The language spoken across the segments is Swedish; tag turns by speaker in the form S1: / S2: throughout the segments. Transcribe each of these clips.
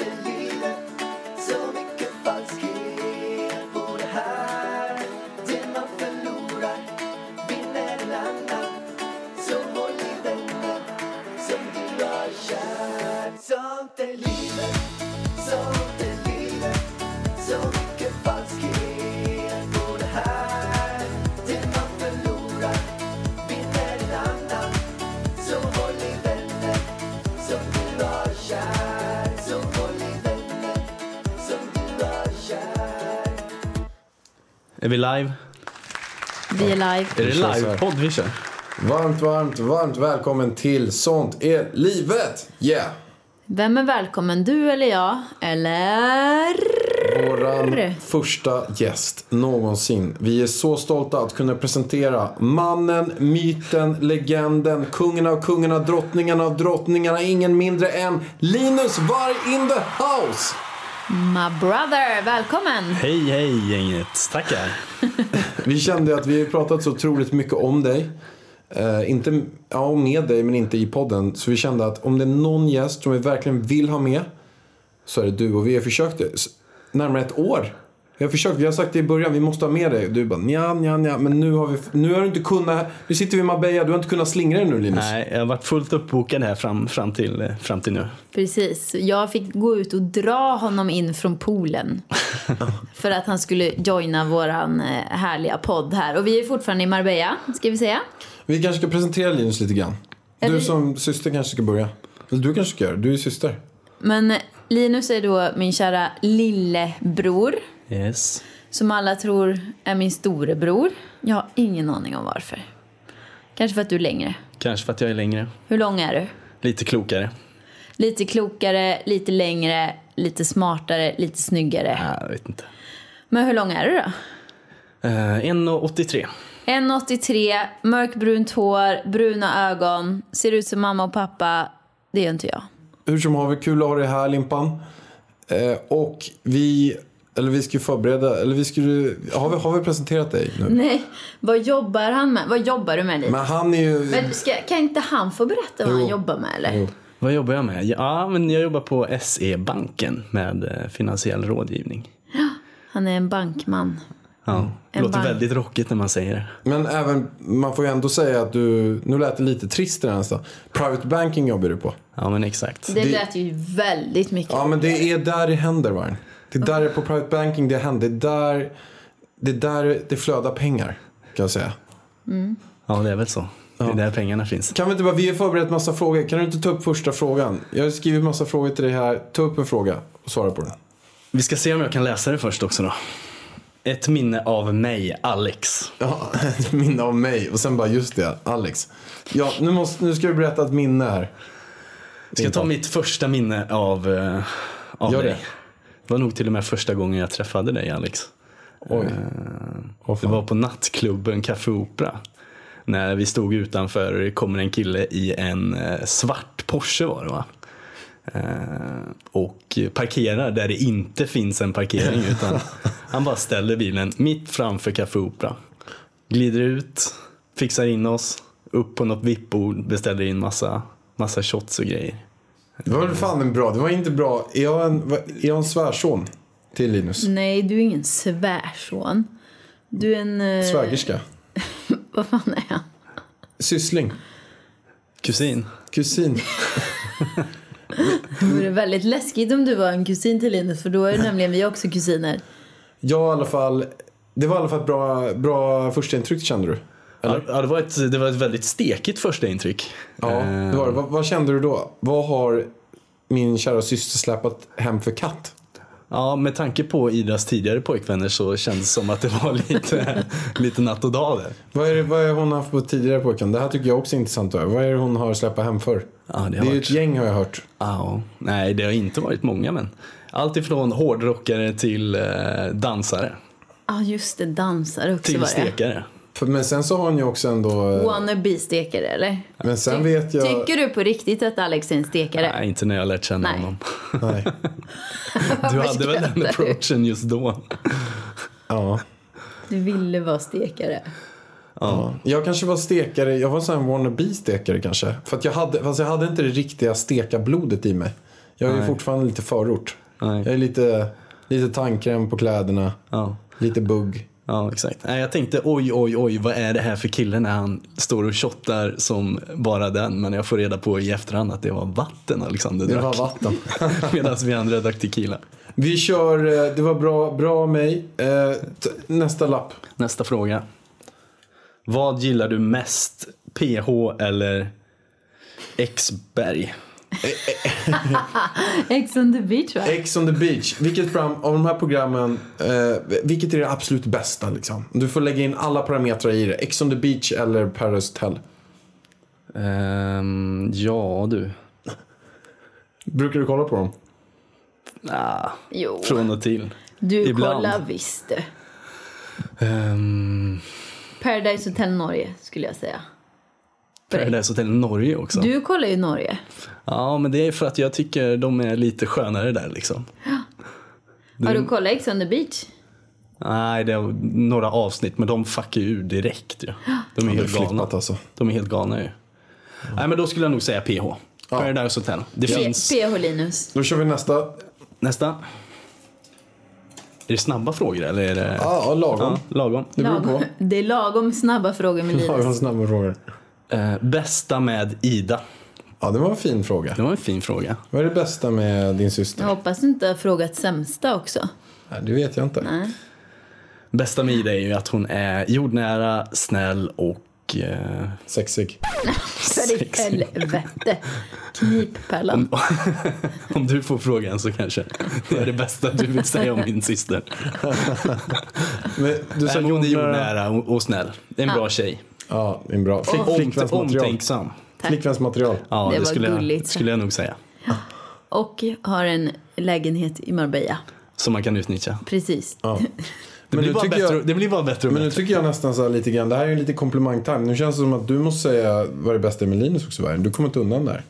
S1: är livet Så mycket falskhet på det här Det man förlorar vinner en annan Så håll i vänner som du har kär Sånt är livet, sånt är livet Så mycket falskhet på det här Det man förlorar vinner en annan Så håll i vänner som du var kär Så håll i vänner som du var kär
S2: Är vi live?
S3: Vi är live.
S2: Är det
S4: Vi kör så här.
S2: livepodd vi kör?
S4: Varmt, varmt, varmt välkommen till Sånt är livet! Yeah!
S3: Vem är välkommen? Du eller jag? Eller...
S4: Våran första gäst någonsin. Vi är så stolta att kunna presentera mannen, myten, legenden, kungen av kungarna, drottningen av drottningarna, ingen mindre än Linus Varg in the house!
S3: My brother, välkommen!
S2: Hej hej gänget, tackar.
S4: Vi kände att vi har pratat så otroligt mycket om dig. Eh, inte ja, med dig, men inte i podden. Så vi kände att om det är någon gäst som vi verkligen vill ha med så är det du. Och vi har försökt det s- närmare ett år. Vi har försökt, vi har sagt det i början, vi måste ha med dig. Och du bara nja, nja, nja. Men nu har, vi, nu har du inte kunnat, nu sitter vi i Marbella, du har inte kunnat slingra dig nu Linus.
S2: Nej, jag har varit fullt uppbokad här fram, fram, till, eh, fram till nu.
S3: Precis. Jag fick gå ut och dra honom in från poolen. för att han skulle joina våran eh, härliga podd här. Och vi är fortfarande i Marbella, ska vi säga.
S4: Vi kanske ska presentera Linus lite grann. Du som syster kanske ska börja. Eller du kanske ska göra det, du är syster.
S3: Men Linus är då min kära lillebror.
S2: Yes.
S3: Som alla tror är min storebror. Jag har ingen aning om varför. Kanske för att du är längre.
S2: Kanske för att jag är längre.
S3: Hur lång är du?
S2: Lite klokare.
S3: Lite klokare, lite längre, lite smartare, lite snyggare.
S2: Nej, jag vet inte.
S3: Men hur lång är du då?
S2: Eh, 1,83.
S3: 1,83, mörkbrunt hår, bruna ögon, ser ut som mamma och pappa. Det gör inte jag.
S4: Hur som har vi kul att ha dig här Limpan. Eh, och vi, eller vi ska ju förbereda, eller vi skulle, har vi, har vi presenterat dig nu?
S3: Nej, vad jobbar han med? Vad jobbar du med Lina?
S4: Men han är ju,
S3: Men ska, kan inte han få berätta vad
S4: Jo.
S3: han jobbar med eller?
S4: Jo.
S2: Vad jobbar jag med? Ja, ah, men jag jobbar på SE-banken med eh, finansiell rådgivning.
S3: Han är en bankman.
S2: Ja, det
S3: En
S2: låter
S3: bank.
S2: väldigt rockigt när man säger det.
S4: men även, man får ju ändå säga att du, nu lät det lite trist det där nästan. Private banking jobbar du på.
S2: Ja, men exakt.
S3: Det lät ju väldigt mycket.
S4: Ja men det är där det händer Varn. Det är där det är på private banking det händer. Det är där det, är där det flödar pengar kan jag säga.
S2: Ja, det är väl så. Det är där pengarna finns.
S4: Kan vi inte bara, vi har förberett massa frågor. Kan du inte ta upp första frågan? Jag har skrivit massa frågor till dig här. Ta upp en fråga och svara på den.
S2: Vi ska se om jag kan läsa det först också då. Ett minne av mig, Alex.
S4: Ja, ett minne av mig och sen bara just det, Alex. Ja, nu, måste, nu ska du berätta ett minne här.
S2: Ska jag ta mitt första minne av, eh, av
S4: Gör
S2: dig?
S4: det.
S2: Det var nog till och med första gången jag träffade dig Alex.
S4: Oj. Åh,
S2: Det
S4: fan.
S2: var på nattklubben Café Opera. När vi stod utanför och det kommer en kille i en eh, svart Porsche var det va? Eh, Och parkerar där det inte finns en parkering utan han bara ställer bilen mitt framför Café Opera. Glider ut, fixar in oss, upp på något vippbord, beställer in massa, massa shots och grejer.
S4: Det var väl fan en bra, det var inte bra. Är jag en, va- är jag en svärson till Linus?
S3: Nej, du är ingen svärson. Du är en... eh,
S4: Svägerska?
S3: Vad fan är han?
S4: Syssling?
S2: Kusin.
S4: Kusin?
S3: Det vore väldigt läskigt om du var en kusin till Linus för då är nämligen vi också kusiner.
S4: Jag i alla fall, det var i alla fall ett bra, bra första intryck kände du?
S2: Ja, ja, det, var ett, det var ett väldigt stekigt första intryck.
S4: Ja, det var det. Vad, vad kände du då? Vad har min kära syster släpat hem för katt?
S2: Ja, med tanke på Idas tidigare pojkvänner så kändes det som att det var lite, lite natt och dag där.
S4: Vad är det vad är det hon har haft på tidigare pojken? Det här tycker jag också är intressant. att höra. Vad är det hon har släpat hem för?
S2: Ja, det har
S4: det är ju
S2: varit-
S4: ett gäng har jag hört.
S2: Ja, nej, det har inte varit många men. Allt ifrån hårdrockare till eh, dansare.
S3: Ja, just det. Dansare också
S2: Till
S3: var det.
S2: stekare.
S4: För, men sen så har han ju också ändå... eh,
S3: Wannabe-stekare eller?
S4: Men sen
S3: Ty-
S4: vet jag...
S3: Tycker du på riktigt att Alex är en stekare?
S2: Nej, inte när jag lärt känna
S3: Nej.
S2: honom.
S4: Nej.
S2: Du
S3: Varför
S2: hade väl
S3: skrattar
S2: den
S3: du?
S2: approachen just då?
S4: Ja.
S3: Du ville vara stekare.
S4: Jag kanske var stekare, jag var en sån här wannabe stekare kanske. För att jag hade, fast jag hade inte det riktiga stekablodet i mig. Jag är ju fortfarande lite förort.
S2: Nej.
S4: Jag är lite, lite tandkräm på kläderna,
S2: Ja.
S4: lite bugg.
S2: Ja, exakt. Nej, jag tänkte oj, oj, oj, vad är det här för kille när han står och shottar som bara den. Men jag får reda på i efterhand att det var vatten Alexander
S4: Det
S2: drack.
S4: var vatten.
S2: Medan vi andra drack tequila.
S4: Vi kör, eh, det var bra, bra av mig. Eh, t- Nästa lapp.
S2: Nästa fråga. Vad gillar du mest? PH eller Xberg?
S3: Ex on the beach va?
S4: Ex on the beach. Vilket program av de här programmen, eh, vilket är det absolut bästa liksom? Du får lägga in alla parametrar i det. Ex on the beach eller Paris Hotel.
S2: Ehm, ja du.
S4: Brukar du kolla på dem?
S2: Ah,
S3: Jo,
S2: från och till.
S3: du
S2: ibland.
S3: kollar visst du.
S2: Um,
S3: Paradise Hotel Norge skulle jag säga.
S2: Paradise Hotel Norge också.
S3: Du kollar ju Norge.
S2: Ja, men det är för att jag tycker de är lite skönare där liksom.
S3: Har du kollat Ex on the beach?
S2: Nej, det är några avsnitt, men de fuckar ju ur direkt ju. De är
S4: Det är
S2: helt galna.
S4: flippat alltså.
S2: De är helt galna ju. Nej, men då skulle jag nog säga PH. Paradise Hotel. Det
S3: P-
S2: finns.
S3: PH Linus.
S4: Då kör vi nästa.
S2: Nästa. Är det snabba frågor eller är det?
S4: Ja, ah, lagom.
S2: Ja, lagom.
S4: Det beror på.
S3: Lagom. Det är lagom snabba frågor med Linus.
S4: Lagom snabba frågor.
S2: Eh, bästa med Ida.
S4: Ja, det var en fin fråga.
S2: Det var en fin fråga.
S4: Vad är det bästa med din
S3: Jag
S4: syster?
S3: hoppas du inte har frågat sämsta också.
S4: Nej, det vet jag inte.
S2: Bästa med Ida är ju att hon är jordnära, snäll och eh,
S4: Sexig.
S3: För i
S2: sexig.
S3: helvete. Knippärlan.
S2: Om du får frågan så kanske det är det bästa du vill säga om min syster.
S4: Men du
S2: Nej,
S4: sa
S2: men hon är
S4: jordnära.
S2: jordnära och, och snäll. Det är en bra tjej.
S4: Ja, det är en bra. Flick,
S2: Om,
S4: flickvänsmaterial.
S2: omtänksam.
S4: Flickvänsmaterial.
S2: Ja,
S3: Det
S2: det,
S3: var
S2: skulle, jag,
S3: gulligt.
S2: skulle jag nog säga.
S3: Och har en lägenhet i Marbella.
S2: Som man kan utnyttja.
S3: Precis.
S2: Det,
S4: Men
S2: blir,
S4: nu,
S2: bara
S4: tycker
S2: bättre,
S4: jag,
S2: det blir bara bättre och
S4: men nu
S2: bättre.
S4: tycker jag nästan så här lite grann, det här är lite komplimentime. Nu känns det som att du måste säga vad det bästa är med Linus också, Vargen. Du kommer inte undan där.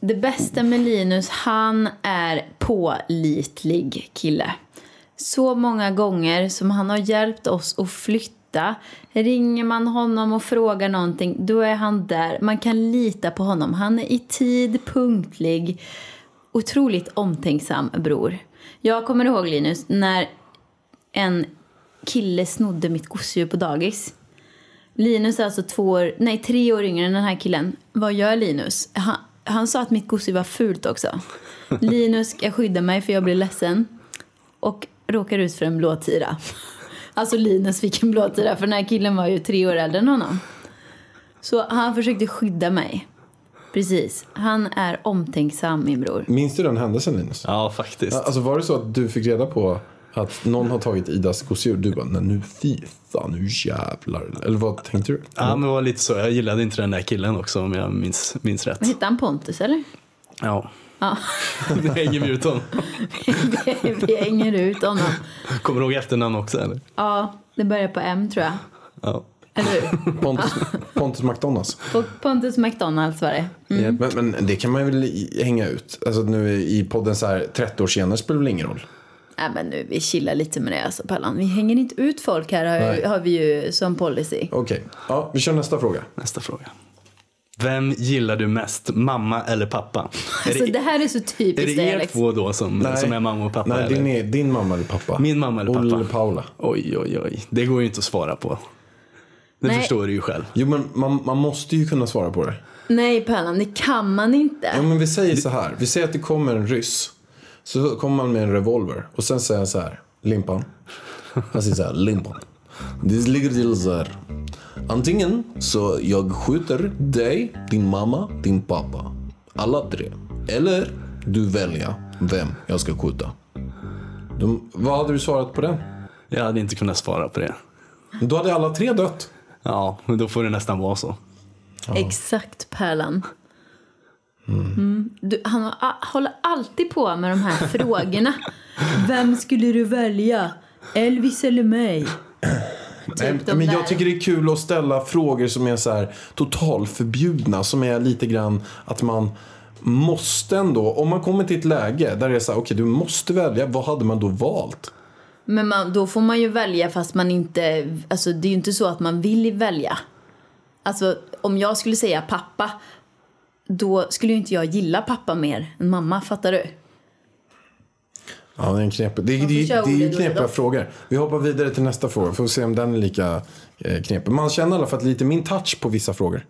S3: Det bästa med Linus, han är pålitlig kille. Så många gånger som han har hjälpt oss att flytta. Ringer man honom och frågar någonting, då är han där. Man kan lita på honom. Han är i tid, punktlig. Otroligt omtänksam bror. Jag kommer ihåg Linus, när en kille snodde mitt gosedjur på dagis. Linus är alltså två år, nej tre år yngre än den här killen. Vad gör Linus? Han, han sa att mitt gosedjur var fult också. Linus, jag skyddar mig för jag blir ledsen. Och råkar ut för en blåtira. Alltså Linus fick en blåtira för den här killen var ju tre år äldre än honom. Så han försökte skydda mig. Precis. Han är omtänksam min bror.
S4: Minns du den händelsen Linus?
S2: Ja, faktiskt.
S4: Alltså var det så att du fick reda på att någon har tagit Idas gosedjur? Du bara, nej nu fy fan, nu jävlar. Eller vad tänkte du?
S2: Ja, men det var lite så. Jag gillade inte den där killen också om jag minns, minns rätt.
S3: Hittade han Pontus eller?
S2: Ja.
S3: Ja.
S2: Det hänger vi ut honom.
S3: Vi, vi hänger ut honom.
S2: Kommer du ihåg efternamn också eller?
S3: Ja, det börjar på M tror jag.
S2: Ja.
S3: Eller hur?
S4: Pontus, Pontus McDonalds.
S3: Och Pontus McDonalds var det.
S2: Mm.
S4: Men, men det kan man väl i- hänga ut? Alltså nu i podden så här 30 år senare spelar väl ingen roll?
S3: Nej men nu, vi chillar lite med det alltså Pallan. Vi hänger inte ut folk här har, ju-
S4: Nej.
S3: har vi ju som policy.
S4: Okej, ja, vi kör nästa fråga.
S2: Nästa fråga. Vem gillar du mest, mamma eller pappa? Är
S3: Alltså
S2: det,
S3: det här är så
S2: är
S3: typiskt
S2: det
S3: dig
S2: er
S3: Alex.
S2: två då som, Mm, som är mamma och pappa?
S4: Nej,
S2: eller?
S4: din, är, din mamma eller pappa?
S2: Min mamma eller pappa?
S4: Olle eller Paula?
S2: Oj, oj, oj. Det går ju inte att svara på. Det
S3: Nej.
S2: förstår du ju själv.
S4: Jo, men man, man måste ju kunna svara på det.
S3: Nej Pallan, det kan man inte.
S4: Ja, men vi säger så här. Vi säger att det kommer en ryss. Så kommer man med en revolver. Och sen säger han så här. Limpan. Han säger så här. Limpan. Det ligger till så här. Antingen så jag skjuter dig, din mamma, din pappa. Alla tre. Eller du väljer vem jag ska skjuta. De, vad hade du svarat på den?
S2: Jag hade inte kunnat svara på det.
S4: Då hade alla tre dött.
S2: Ja, men då får det nästan vara så.
S3: Exakt Pärlan. Mm. Du, han har- a- håller alltid på med de här frågorna. Vem skulle du välja? Elvis eller mig?
S4: Nej,
S3: typ de
S4: men
S3: där.
S4: jag tycker det är kul att ställa frågor som är så här totalförbjudna. Som är lite grann att man måste ändå. Om man kommer till ett läge där det är så här, okej du måste välja. Vad hade man då valt?
S3: Men man, då får man ju välja fast man inte... Alltså det är ju inte så att man vill välja. Alltså om jag skulle säga pappa, då skulle ju inte jag gilla pappa mer än mamma, fattar du?
S4: Ja, det är en knep. Det, är- det,
S3: kör
S4: är- det är
S3: Olle
S4: ju
S3: då,
S4: knepiga
S3: då.
S4: frågor. Vi hoppar vidare till nästa fråga. Får se om den är lika eh, knepig. Man känner i alla fall lite min touch på vissa frågor.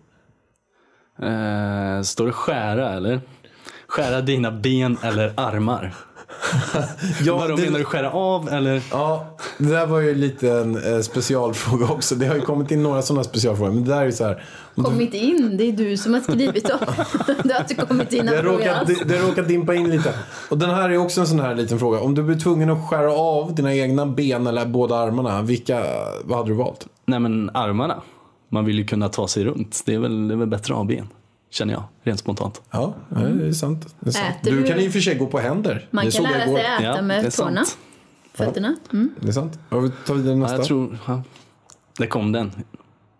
S2: Eh, står det skära eller? Skära dina ben eller armar?
S4: Ja,
S2: Vadå,
S4: det-
S2: menar du skära av eller?
S4: Ja, det där var ju lite en eh, specialfråga också. Det har ju kommit in några sådana specialfrågor. Men det där är ju så här. om du-
S3: Kommit in, det är du som har skrivit dem. du har inte kommit in
S4: Det råkar,
S3: någonstans.
S4: det, det råkar dimpa in lite. Och den här är också en sån här liten fråga. Om du blir tvungen att skära av dina egna ben eller båda armarna, vilka, vad hade du valt?
S2: Nej men armarna. Man vill ju kunna ta sig runt. Det är väl, det är väl bättre att ha ben. Känner jag, rent spontant.
S4: Ja, det är sant. Det är sant.
S3: Äter
S4: Du,
S3: du-
S4: kan i och för sig gå på händer.
S3: Man
S4: det
S3: kan
S4: såg jag
S3: lära sig
S4: igår.
S3: äta
S2: det är
S3: med tårna,
S2: sant.
S3: fötterna. Mm.
S4: Det är sant. Ja, vi tar vidare
S2: Ja,
S4: nästa.
S2: jag tror, ja. Där kom den.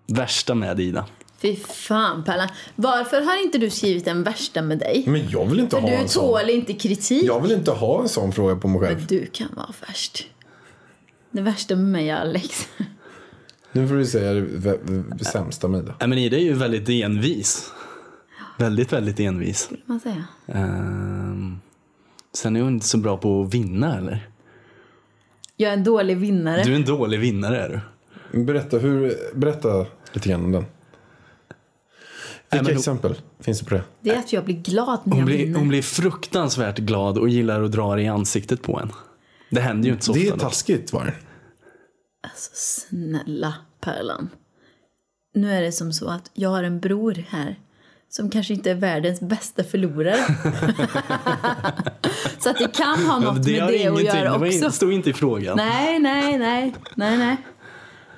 S2: Värsta med Ida.
S3: Fy fan Pallan. Varför har inte du skrivit den värsta med dig?
S4: Men jag vill inte
S3: För
S4: ha
S3: du
S4: en sån.
S3: tål inte kritik.
S4: Jag vill inte ha en sån fråga på mig
S3: Men
S4: själv.
S3: du kan vara värst. Det värsta med mig är Alex.
S4: Nu får du säga det vä- vä- sämsta med det.
S2: Nej men Ida är ju väldigt envis. Väldigt, väldigt envis.
S3: Man säger.
S2: Ehm, sen är hon inte så bra på att vinna eller?
S3: Jag är en dålig vinnare.
S2: Du är en dålig vinnare är du.
S4: Berätta, hur, berätta lite grann om den.
S2: men
S4: Vilka
S2: då-
S4: exempel finns det på det?
S3: Det är att jag blir glad när
S2: Hon
S3: jag
S2: blir,
S3: vinner.
S2: hon blir fruktansvärt glad och gillar att dra det i ansiktet på en. Det händer ju inte så
S4: Det är
S2: ofta. dock.
S4: taskigt var det.
S3: Alltså snälla Pärlan. Nu är det som så att jag har en bror här som kanske inte är världens bästa förlorare. så att det kan ha
S2: Ja,
S3: något
S2: det
S3: med
S2: har
S3: det att
S2: ingenting,
S3: göra
S2: det var in-
S3: också.
S2: stod inte i frågan.
S3: Nej, nej, nej, nej, nej.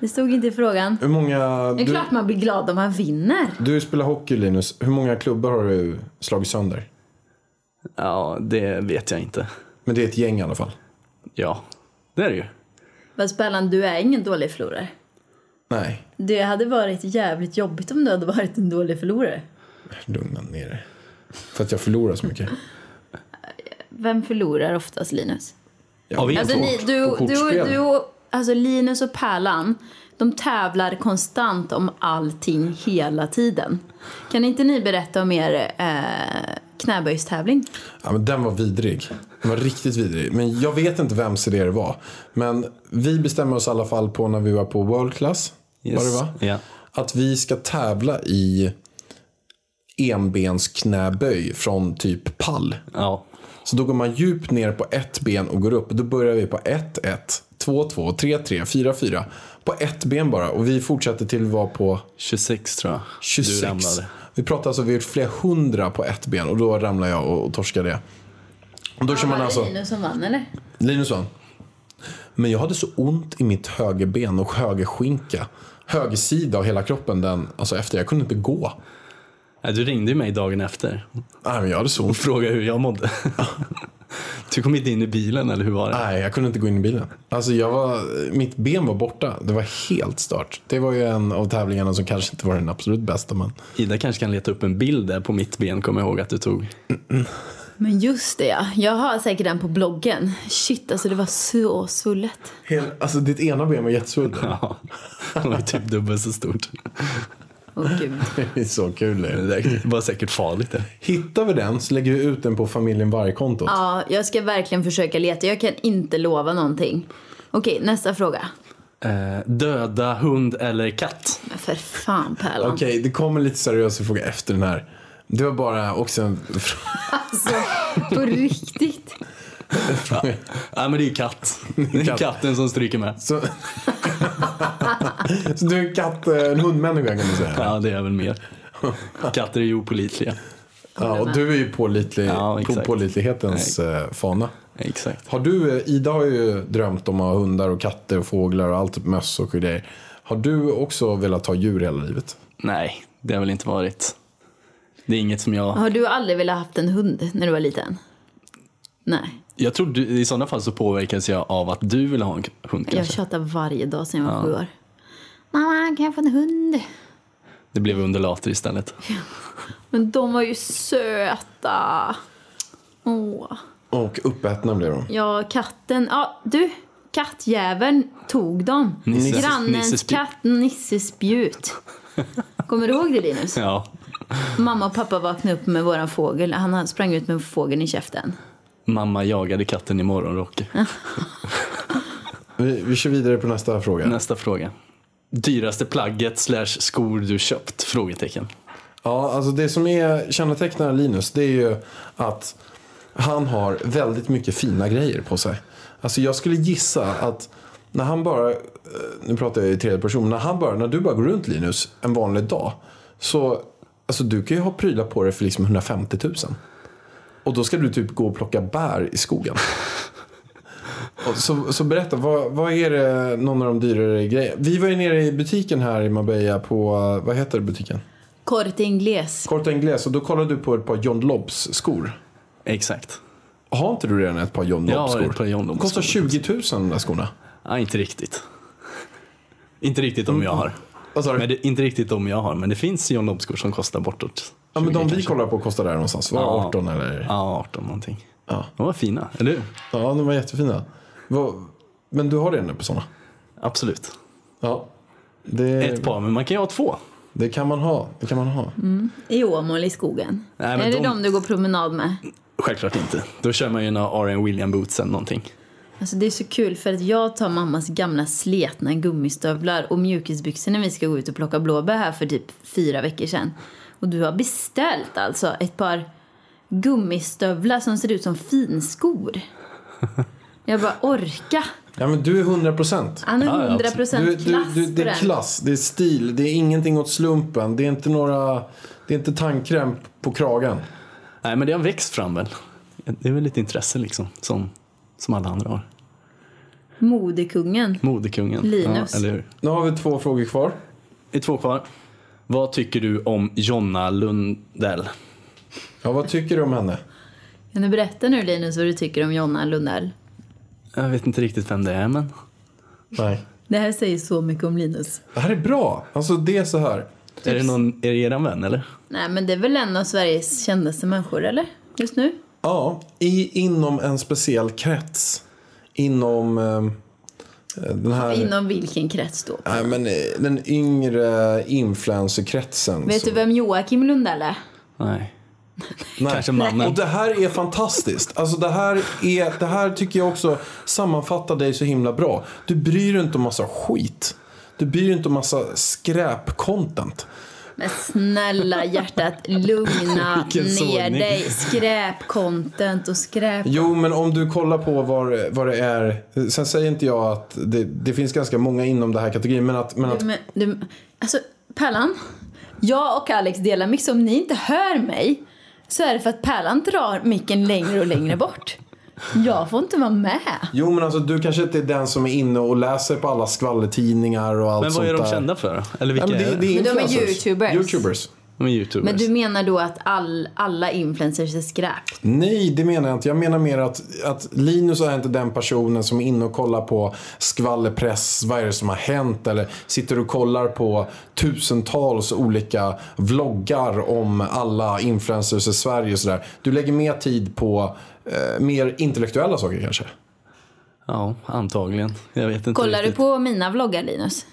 S3: Det stod inte i frågan.
S4: Hur många...
S3: Det är
S4: Du,
S3: klart man blir glad om man vinner.
S4: du spelar hockey Linus. Hur många klubbar har du slagit sönder?
S2: Ja, det vet jag inte.
S4: Men det är ett gäng i alla fall.
S2: Ja, det är det ju.
S3: Fast Pärlan, du är ingen dålig förlorare.
S4: Nej,
S3: Det hade varit jävligt jobbigt om du hade varit en dålig förlorare.
S4: lugna ner dig. För att jag förlorar så mycket.
S3: Vem förlorar oftast, Linus?
S2: Av er
S3: Alltså,
S2: två.
S3: ni, du,
S4: på
S3: du,
S4: kortspel.
S3: du, och- alltså Linus och Pärlan, de tävlar konstant om allting hela tiden. Kan inte ni berätta om er eh, knäböjstävling?
S4: Ja, men den var vidrig. Den var riktigt vidrig. Men jag vet inte vems idé det var. Men vi bestämmer oss i alla fall på när vi var på World Class. Var det va?
S2: Ja.
S4: Att vi ska tävla i enbensknäböj från typ pall.
S2: ja.
S4: Så då går man djupt ner på ett ben och går upp. Då börjar vi på 1-1, 2-2, 3-3, 4-4. På ett ben bara. Och vi fortsätter till att vara på
S2: 26 tror jag.
S4: 26.
S2: Du ramlade.
S4: vi pratar alltså, vi har gjort flera hundra på ett ben. Och då ramlar jag och, och torskar det. Och då kör man alltså...
S3: Linus som vann, eller?
S4: Linus vann. Men jag hade så ont i mitt högerben och högerskinka. Högersida av hela kroppen den, alltså efter. Jag kunde inte gå.
S2: Nej, du ringde ju mig dagen efter
S4: Nej, men jag hade så
S2: och
S4: ont.
S2: frågade hur jag mådde. du kom inte in i bilen eller hur var det?
S4: Nej, jag kunde inte gå in i bilen. Alltså jag var, mitt ben var borta. Det var helt stört. Det var ju en av tävlingarna som kanske inte var den absolut bästa. Men
S2: Ida kanske kan leta upp en bild där på mitt ben, kommer jag ihåg att du tog.
S3: Men just det, ja. Jag har säkert den på bloggen. Shit, alltså det var så svullet.
S4: Hel, alltså ditt ena ben var jättesvullet.
S2: Ja, det var ju typ dubbelt så stort.
S3: Åh gud.
S4: Det är så kul.
S2: Det
S4: Det.
S2: där var säkert farligt. Det.
S4: Hittar vi den så lägger vi ut den på familjen varg-kontot.
S3: Ja, jag ska verkligen försöka leta. Jag kan inte lova någonting. Okej, nästa fråga.
S2: Eh, döda hund eller katt?
S3: Men för fan Pärlan.
S4: Okej, det kommer lite seriösa fråga efter den här. Det var bara också en fråga.
S3: Alltså, på riktigt.
S2: Nej, men det är ju katt. Det är
S4: Katt.
S2: katten som stryker med.
S4: Så... så du är en katt, en hundmänniska kan man säga.
S2: Ja, det är väl mer. Katter är ju opolitliga.
S4: Ja, och du är ju pålitlig,
S2: Ja,
S4: på
S2: exakt.
S4: pålitlighetens eh, fana.
S2: Exakt.
S4: Har du, eh, Ida har ju drömt om att ha hundar och katter och fåglar och allt, möss och grejer. Har du också velat ha djur hela livet?
S2: Nej, det har väl inte varit. Det är inget som jag...
S3: Har du aldrig velat haft en hund när du var liten? Nej,
S2: Jag tror du, i sådana fall så påverkas jag av att du vill ha en hund
S3: jag
S2: kanske.
S3: tjatar varje dag sedan jag var sju år. Mamma, kan jag få en hund?
S2: Det blev undulater istället.
S3: Men de var ju söta. Åh.
S4: Och uppätna blev de.
S3: Ja, katten. Ja, du. Kattjäveln tog dem.
S2: Nisse-
S3: Grannens
S2: Nissespjut.
S3: katt Nisse spjut. Kommer du ihåg det Linus?
S2: Ja.
S3: Mamma och pappa vaknade upp med våran fågel. Han sprang ut med fågeln i käften.
S2: Mamma jagade katten i morgonrock.
S4: Vi, vi kör vidare på nästa fråga.
S2: Nästa fråga. Dyraste plagget slash skor du köpt? Frågetecken.
S4: Ja, alltså det som är kännetecknar Linus det är ju att han har väldigt mycket fina grejer på sig. Alltså jag skulle gissa att när han bara, eh, nu pratar jag i tredje person, när han bara, när du bara går runt Linus en vanlig dag så, alltså du kan ju ha prylar på dig för liksom 150 000. Och då ska du typ gå och plocka bär i skogen. Och Så, så berätta, vad, vad är det någon av de dyrare grejerna? Vi var ju nere i butiken här i Marbella på, eh, vad heter butiken?
S3: Corte Inglés.
S4: Corte Inglés och då kollade du på ett par John Lobbs skor.
S2: Exakt.
S4: Har inte du redan ett par John
S2: Jag har
S4: Lobbs skor?
S2: ett par John Lobb
S4: De kostar 20 000 de där skorna.
S2: Nej, inte riktigt. Inte riktigt om jag har.
S4: Vad sa du?
S2: Men det, inte riktigt om jag har, men det finns John Lobb-skor som kostar bortåt.
S4: Ja, men de
S2: 20
S4: vi
S2: kanske.
S4: kollar på kostar där någonstans. Var
S2: Ja.
S4: 18 eller? Ja.
S2: Ja, 18 någonting.
S4: Ja.
S2: De var fina, eller hur?
S4: de var jättefina. Vad- Men du har redan ett par sådana?
S2: Absolut.
S4: Ja. Det,
S2: Ett par, men man kan ju ha två.
S4: det kan man ha. Det kan man ha.
S3: I Åmål i skogen.
S2: Nej, men
S3: är det
S2: de-
S3: de du går promenad med?
S2: Självklart inte. Då kör man ju några R.N. William-boots eller någonting.
S3: Alltså det är så kul för att jag tar mammas gamla sletna gummistövlar och mjukisbyxor när vi ska gå ut och plocka blåbär här för typ fyra veckor sedan. Och du har beställt alltså ett par gummistövlar som ser ut som finskor. Jag bara orka.
S4: Ja, men du är 100 procent.
S3: Han är
S2: Ja, ja,
S3: 100%
S4: Du,
S3: klass
S4: du, du, det
S3: på
S4: är
S3: den.
S4: klass, det är stil, det är ingenting åt slumpen. Det är inte några... Det är inte tandkräm på kragen.
S2: Nej, men det har växt fram väl. Det är väl lite intresse liksom, som, som alla andra har.
S3: Modekungen.
S2: Modekungen.
S3: Linus.
S2: Ja, eller hur?
S4: Nu har vi två frågor kvar.
S2: Det är två kvar. Vad tycker du om Jonna Lundell?
S4: Ja, vad tycker du om henne?
S3: Kan du berätta nu Linus vad du tycker om Jonna Lundell?
S2: Jag vet inte riktigt vem det är, men...
S4: Nej.
S3: Det här säger så mycket om Linus.
S4: Det här är bra. Alltså det är så här.
S2: Är det någon, är det eran vän eller?
S3: Nej men det är väl en av Sveriges kändaste människor eller? Just nu?
S4: Ja, i, inom en speciell krets. Inom eh, den här...
S3: Inom vilken krets då?
S4: Nej, men eh, den yngre influencerkretsen.
S3: Vet
S4: så-
S3: du vem Joakim Lundell är?
S2: Nej.
S4: Nej.
S2: Kanske mannen.
S4: Och det här är fantastiskt. Alltså det här, är, det här tycker jag också sammanfattar dig så himla bra. Du bryr dig inte om massa skit. Du bryr dig inte om massa skräpcontent.
S3: Men snälla hjärtat, lugna
S2: Vilken
S3: ner
S2: sågning.
S3: dig. Skräpcontent och skräp...
S4: Jo, men om du kollar på vad, vad det är. Sen säger inte jag att det, det finns ganska många inom den här kategorin. Men att, men att
S3: Men, du, alltså, Pärlan. Jag och Alex delar mick, så om ni inte hör mig så är det för att Pärlan drar micken längre och längre bort. Jag får inte vara med.
S4: Jo men alltså du kanske inte är den som är inne och läser på alla skvallertidningar och allt
S2: Men vad
S4: sånt
S2: är de
S4: där.
S2: kända för? Eller vilka
S4: Ja, men det,
S2: är
S4: det
S2: det?
S4: är
S3: Men de är
S4: influencers.
S3: youtubers.
S4: YouTubers.
S2: De är youtubers.
S3: Men du menar då att all, alla influencers är skräp?
S4: Nej, det menar jag inte. Jag menar mer att, att Linus är inte den personen som är inne och kollar på skvallerpress, vad är det som har hänt? Eller sitter och kollar på tusentals olika vloggar om alla influencers i Sverige och sådär. Du lägger mer tid på eh, mer intellektuella saker kanske?
S2: Ja, antagligen. Jag vet inte
S3: Kollar du
S2: riktigt.
S3: på mina vloggar, Linus?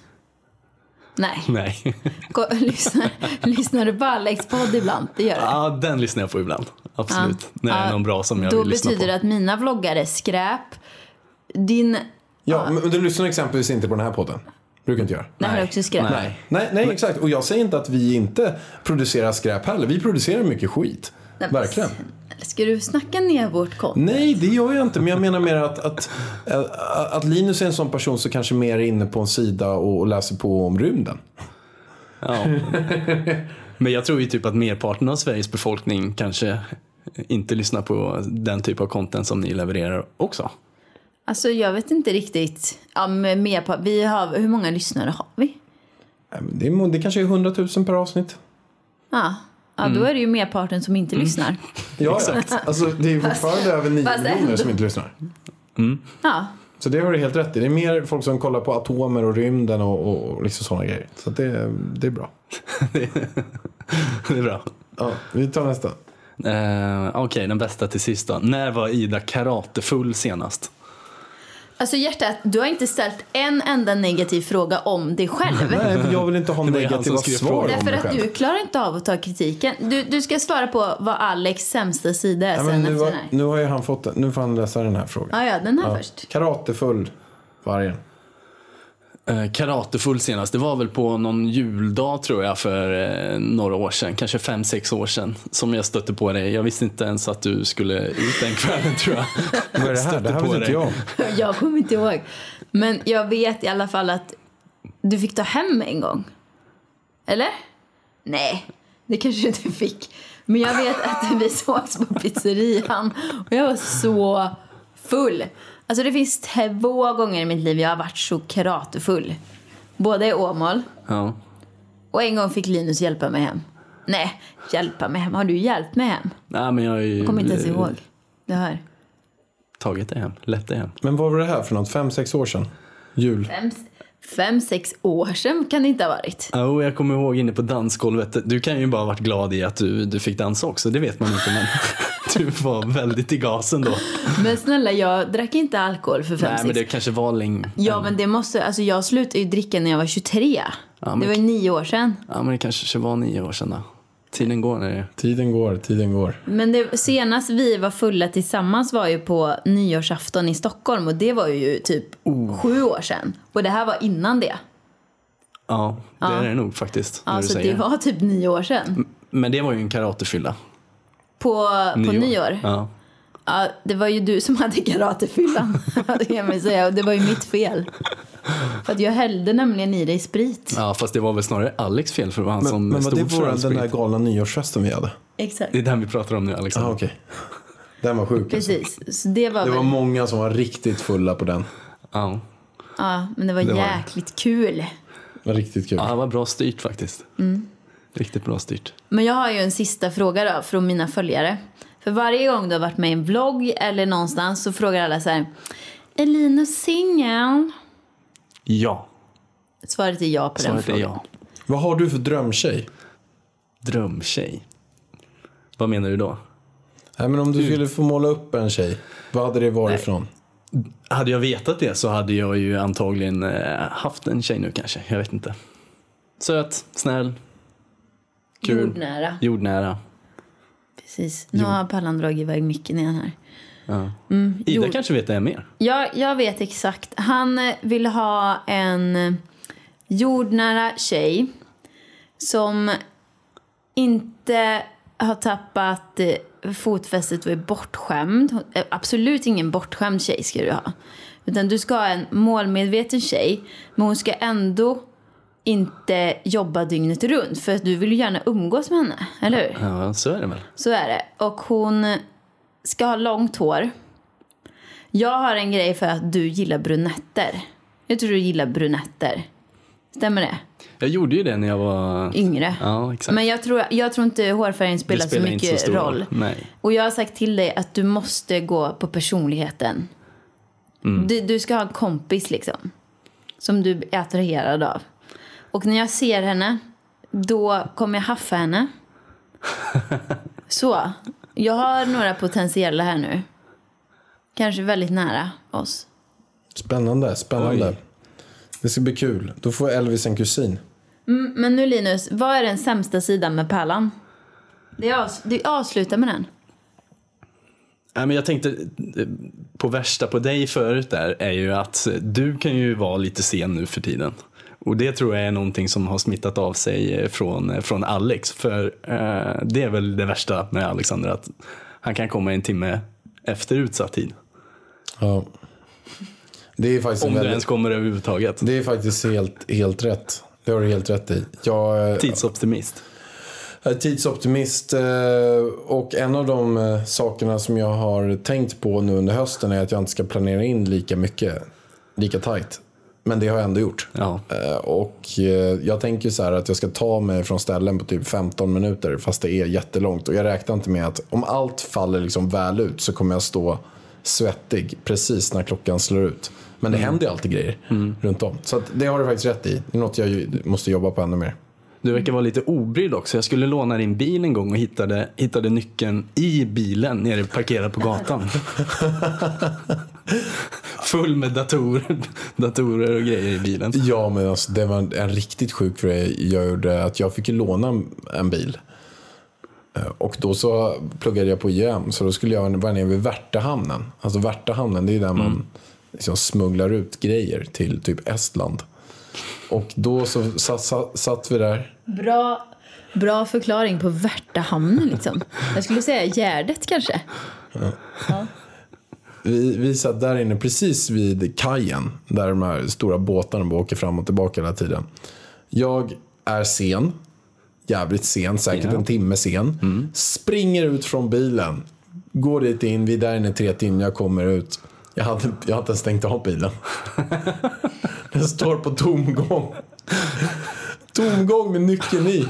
S3: Nej.
S2: Nej.
S3: Ko- lyssnar, lyssnar du på Alex podd ibland? Det gör du.
S2: Ja, den lyssnar jag på ibland. Absolut. När det är
S3: Ja,
S2: någon bra som jag
S3: Då
S2: vill lyssna på.
S3: betyder det att mina vloggar är skräp. Din...
S4: Ja, men du lyssnar exempelvis inte på den här podden. Brukar inte göra.
S3: Den här är också skräp.
S2: Nej.
S4: Nej, nej exakt. Och jag säger inte att vi inte producerar skräp heller. Vi producerar mycket skit.
S3: Nej, men
S4: Verkligen. Mm.
S3: snälla, Ska du snacka ner vårt konto?
S4: Nej, det gör jag inte. Men jag menar mer att, att, eh, att, att Linus är en sån person som kanske mer är inne på en sida och, och läser på om rymden.
S2: Ja. Men jag tror ju typ att merparten av Sveriges befolkning kanske inte lyssnar på den typ av content som ni levererar också.
S3: Alltså jag vet inte riktigt. Ja, men mer på, vi har, hur många lyssnare har vi?
S4: Nej, men Det, är, det kanske är 100 000 per avsnitt.
S3: Ja, ja
S2: Mm.
S3: då är det ju merparten som inte lyssnar.
S4: Ja, Exakt. Alltså, det är fortfarande över 9
S3: fast
S4: miljoner
S3: ändå.
S4: som inte lyssnar.
S3: Ja,
S4: Så det har du helt rätt i. Det är mer folk som kollar på atomer och rymden och, och, och liksom sådana grejer. Så att det, det är bra.
S2: Det är bra.
S4: Ja, vi tar nästa.
S2: Eh, Okej, den bästa till sist då. När var Ida karatefull senast?
S3: Alltså hjärtat, du har inte ställt en enda negativ fråga om dig själv.
S4: Nej, för jag vill inte ha
S2: Det var ju han
S4: negativa
S2: som skrev
S4: svar
S2: frågan.
S4: om
S3: Därför
S4: mig
S3: att
S4: själv.
S3: du klarar inte av att ta kritiken. Du, du ska svara på vad Alex sämsta sida är
S4: Nej, men
S3: sen
S4: nu,
S3: efter
S4: har,
S3: den här.
S4: nu har ju han fått den. Nu får han läsa den här frågan.
S3: Ja, ja, den här först.
S4: Karatefull vargen.
S2: Eh, karatefull senast, det var väl på någon juldag tror jag för eh, några år sedan, kanske fem sex år sedan, som jag stötte på dig. Jag visste inte ens att du skulle ut den kvällen tror jag.
S4: Vad är det här?
S2: Stötte
S4: Det här
S2: på
S4: vet inte
S2: dig.
S4: jag.
S3: Jag kommer inte ihåg. Men jag vet i alla fall att du fick ta hem en gång. Eller? Nej, det kanske du inte fick. Men jag vet att vi sågs på pizzerian och jag var så full. Alltså det finns två gånger i mitt liv jag har varit så karatefull. Både i Åmål
S2: Ja.
S3: och en gång fick Linus hjälpa mig hem. Nej, hjälpa mig hem. Har du hjälpt mig hem?
S2: Nej, men jag har ju
S3: Jag kommer inte ens
S2: eh,
S3: ihåg. Det här.
S2: tagit dig hem, lett dig hem.
S4: Men vad var det här för något? Fem, sex år sedan? Jul.
S3: Fem, fem, sex år sedan kan det inte ha varit.
S2: Jo, jag kommer ihåg inne på dansgolvet. Du kan ju bara ha varit glad i att du, du fick dansa också, det vet man inte. Men du var väldigt i gasen då.
S3: Men snälla, jag drack inte alkohol för fem,
S2: Nej, men det
S3: sex.
S2: kanske var länge.
S3: Ja, men det måste... Alltså jag slutade ju dricka när jag var 23.
S2: men-
S3: Det var ju nio år sedan.
S2: Ja, men det kanske var nio år sedan då. Tiden går när det
S4: Tiden går, tiden går.
S3: Men det, senast vi var fulla tillsammans var ju på nyårsafton i Stockholm och det var ju typ
S2: Oh.
S3: sju år sedan. Och det här var innan det.
S2: Ja, det är det nog faktiskt. när du
S3: Alltså det
S2: säger. Mm.
S3: var typ nio år sedan.
S2: Men det var ju en karatefylla.
S3: På nyår. På nyår. Ja.
S2: Ja.
S3: det var ju du som hade karatefyllan. det kan man ju säga. Och det var ju mitt fel. För att jag hällde nämligen i dig sprit.
S2: ja, fast det var väl snarare Alex fel för det var han som
S4: Men, men var
S2: stod
S4: det
S2: för
S4: våran,
S2: all
S4: den
S2: sprit.
S4: där galna nyårsfesten vi hade?
S3: Exakt.
S2: Det är den vi pratar om nu Alexander.
S4: ah, okej. Den var sjuk. Alltså.
S3: Precis. Så det var,
S4: Det var
S3: väl...
S4: många som var riktigt fulla på den.
S2: Ja.
S3: Ja, men det var
S2: var det.
S3: jäkligt kul.
S4: Det var riktigt kul.
S2: ja, det var bra styrt faktiskt.
S3: Mm.
S2: Riktigt bra styrt.
S3: Men jag har ju en sista fråga då från mina följare. För varje gång du har varit med i en vlogg eller någonstans så frågar alla så här. Är Linus singel?
S2: Ja,
S3: Svaret är ja på den
S2: svaret är
S3: frågan.
S2: ja.
S4: Vad har du för drömtjej?
S2: Drömtjej. Vad menar du då?
S4: Nej, men om du skulle få måla upp en tjej, vad hade det varit ifrån?
S2: Hade jag vetat det så hade jag ju antagligen eh, haft en tjej nu kanske. Jag vet inte. Söt, snäll, kul,
S3: Jordnära.
S2: jordnära.
S3: Precis. Nu har Pallan dragit iväg micken igen här.
S2: Ida
S3: Jord-
S2: kanske vet det mer.
S3: Ja, jag vet exakt. Han eh, vill ha en eh, jordnära tjej som inte har tappat eh, fotfästet och är bortskämd. Hon- eh, Absolut ingen bortskämd tjej ska du ha. Utan du ska ha en målmedveten tjej, men hon ska ändå inte jobba dygnet runt. För att du vill ju gärna umgås med henne, eller hur?
S2: Ja, så är det väl.
S3: Så är det. Och hon ska ha långt hår. Jag har en grej för att du gillar brunetter. Jag tror du gillar brunetter. Stämmer det?
S2: Jag gjorde ju det när jag var
S3: Yngre.
S2: Ja, exakt.
S3: Men jag tror, jag tror inte hårfärgen
S2: Det
S3: spelar, så mycket
S2: stor
S3: roll.
S2: Nej.
S3: Och jag har sagt till dig att du måste gå på personligheten. Du, du ska ha en kompis liksom. Som du är attraherad av. Och när jag ser henne, då kommer jag haffa henne. Så. Jag har några potentiella här nu. Kanske väldigt nära oss.
S4: Spännande, spännande.
S2: Oj.
S4: Det ska bli kul. Då får Elvis en kusin.
S3: Mm, Men nu Linus, vad är den sämsta sidan med Pärlan? Det avs- du avslutar med den.
S2: Nej, men jag tänkte eh, på värsta på dig förut där är ju att du kan ju vara lite sen nu för tiden. Och det tror jag är någonting som har smittat av sig eh, från, eh, från Alex. För eh, det är väl det värsta med Alexander att han kan komma en timme efter utsatt tid.
S4: Ja. Det är faktiskt
S2: Om
S4: en
S2: du
S4: väldigt...
S2: ens kommer överhuvudtaget.
S4: Det är faktiskt helt, helt rätt. Det har du helt rätt i. Jag, eh,
S2: Tidsoptimist.
S4: Jag är tidsoptimist eh, och en av de eh, sakerna som jag har tänkt på nu under hösten är att jag inte ska planera in lika mycket, lika tajt. Men det har jag ändå gjort.
S2: Ja.
S4: Eh, Och eh, jag tänker så här att jag ska ta mig från ställen på typ 15 minuter fast det är jättelångt. Och jag räknar inte med att om allt faller liksom väl ut så kommer jag stå svettig precis när klockan slår ut. Men det händer ju alltid grejer runt om. Så att det har du faktiskt rätt i. Det är något jag ju måste jobba på ännu mer.
S2: Du verkar vara lite obrydd också. Jag skulle låna din bil en gång och hittade, hittade nyckeln i bilen nere parkerad på gatan. Full med datorer, datorer och grejer i bilen.
S4: Ja, men alltså, det var en, en riktigt sjuk grej jag gjorde. Att jag fick ju låna en- en bil. Eh, Och då så pluggade jag på IM. Så då skulle jag vara nere vid Värtahamnen. Alltså Värtahamnen, det är ju där man liksom smugglar ut grejer till typ Estland. Och då så satt, satt, satt vi där.
S3: Bra, bra förklaring på Värtahamnen liksom. Jag skulle säga Gärdet kanske.
S4: Vi, vi satt där inne precis vid kajen. Där de här stora båtarna bara åker fram och tillbaka hela tiden. Jag är sen. Jävligt sen. Säkert en timme sen. Springer ut från bilen. Går dit in. Vi är där inne i tre timmar. Jag kommer ut. Jag hade, jag hade inte ens stängt av bilen. Den står på tomgång. Tomgång med nyckeln i.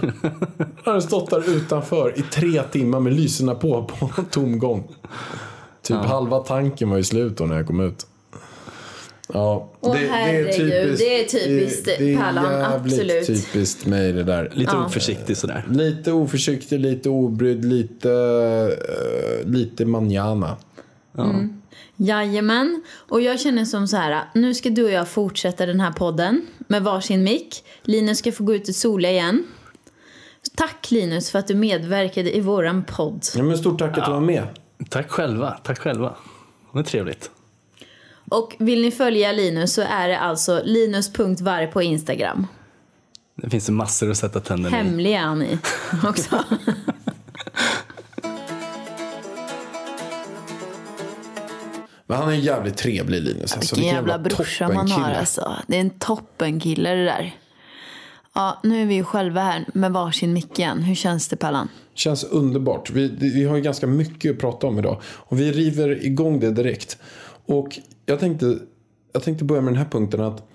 S4: Den har stått där utanför i tre timmar med lyserna på på tomgång. Typ halva tanken var ju slut då när jag kom ut. Ja,
S3: Åh, herregud, det är typiskt
S4: det är
S3: Pallan,
S4: jävligt
S3: absolut.
S4: typiskt mig det där.
S2: Lite oförsiktig sådär.
S4: Lite oförsiktig, lite obrydd, lite, eh, lite manjana.
S3: Jajamän. Och jag känner som så här, nu ska du och jag fortsätta den här podden med varsin mick. Linus ska få gå ut och sola igen. Tack Linus för att du medverkade i våran podd.
S4: Ja, men stort tack att du var med.
S2: Tack själva, tack själva. Det är trevligt.
S3: Och vill ni följa Linus så är det alltså linus.varg på Instagram.
S2: Det finns massor att sätta tänderna i.
S3: Hemlig är han i också.
S4: Men han är en jävligt trevlig Linus. Alltså,
S3: Vilken jävla brorsa man har
S4: toppenkille.
S3: alltså. Det är en toppenkille det där. Ja, nu är vi ju själva här med varsin mick igen. Hur känns det Pallan?
S4: Känns underbart. Vi, vi har ju ganska mycket att prata om idag. Och vi river igång det direkt. Och jag tänkte, jag tänkte börja med den här punkten att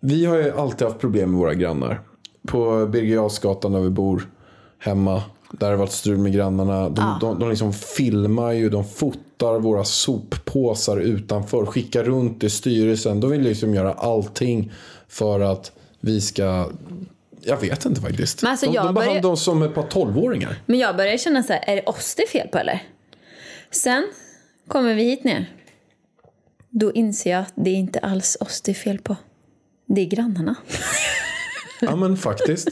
S4: vi har ju alltid haft problem med våra grannar. På Birger Jarlsgatan där vi bor, hemma. Där har det varit strul med grannarna. De, de, de liksom filmar ju, de fotar våra soppåsar utanför. Skickar runt i styrelsen. De vill liksom göra allting för att vi ska... Jag vet inte faktiskt.
S3: Men alltså,
S4: de,
S3: jag
S4: de
S3: börjar-
S4: behandlar oss som ett par tolvåringar.
S3: Men jag börjar känna så här, är det oss det är fel på eller? Sen kommer vi hit ner. Då inser jag att det är inte alls oss det är fel på. Det är grannarna.
S4: Ja men faktiskt.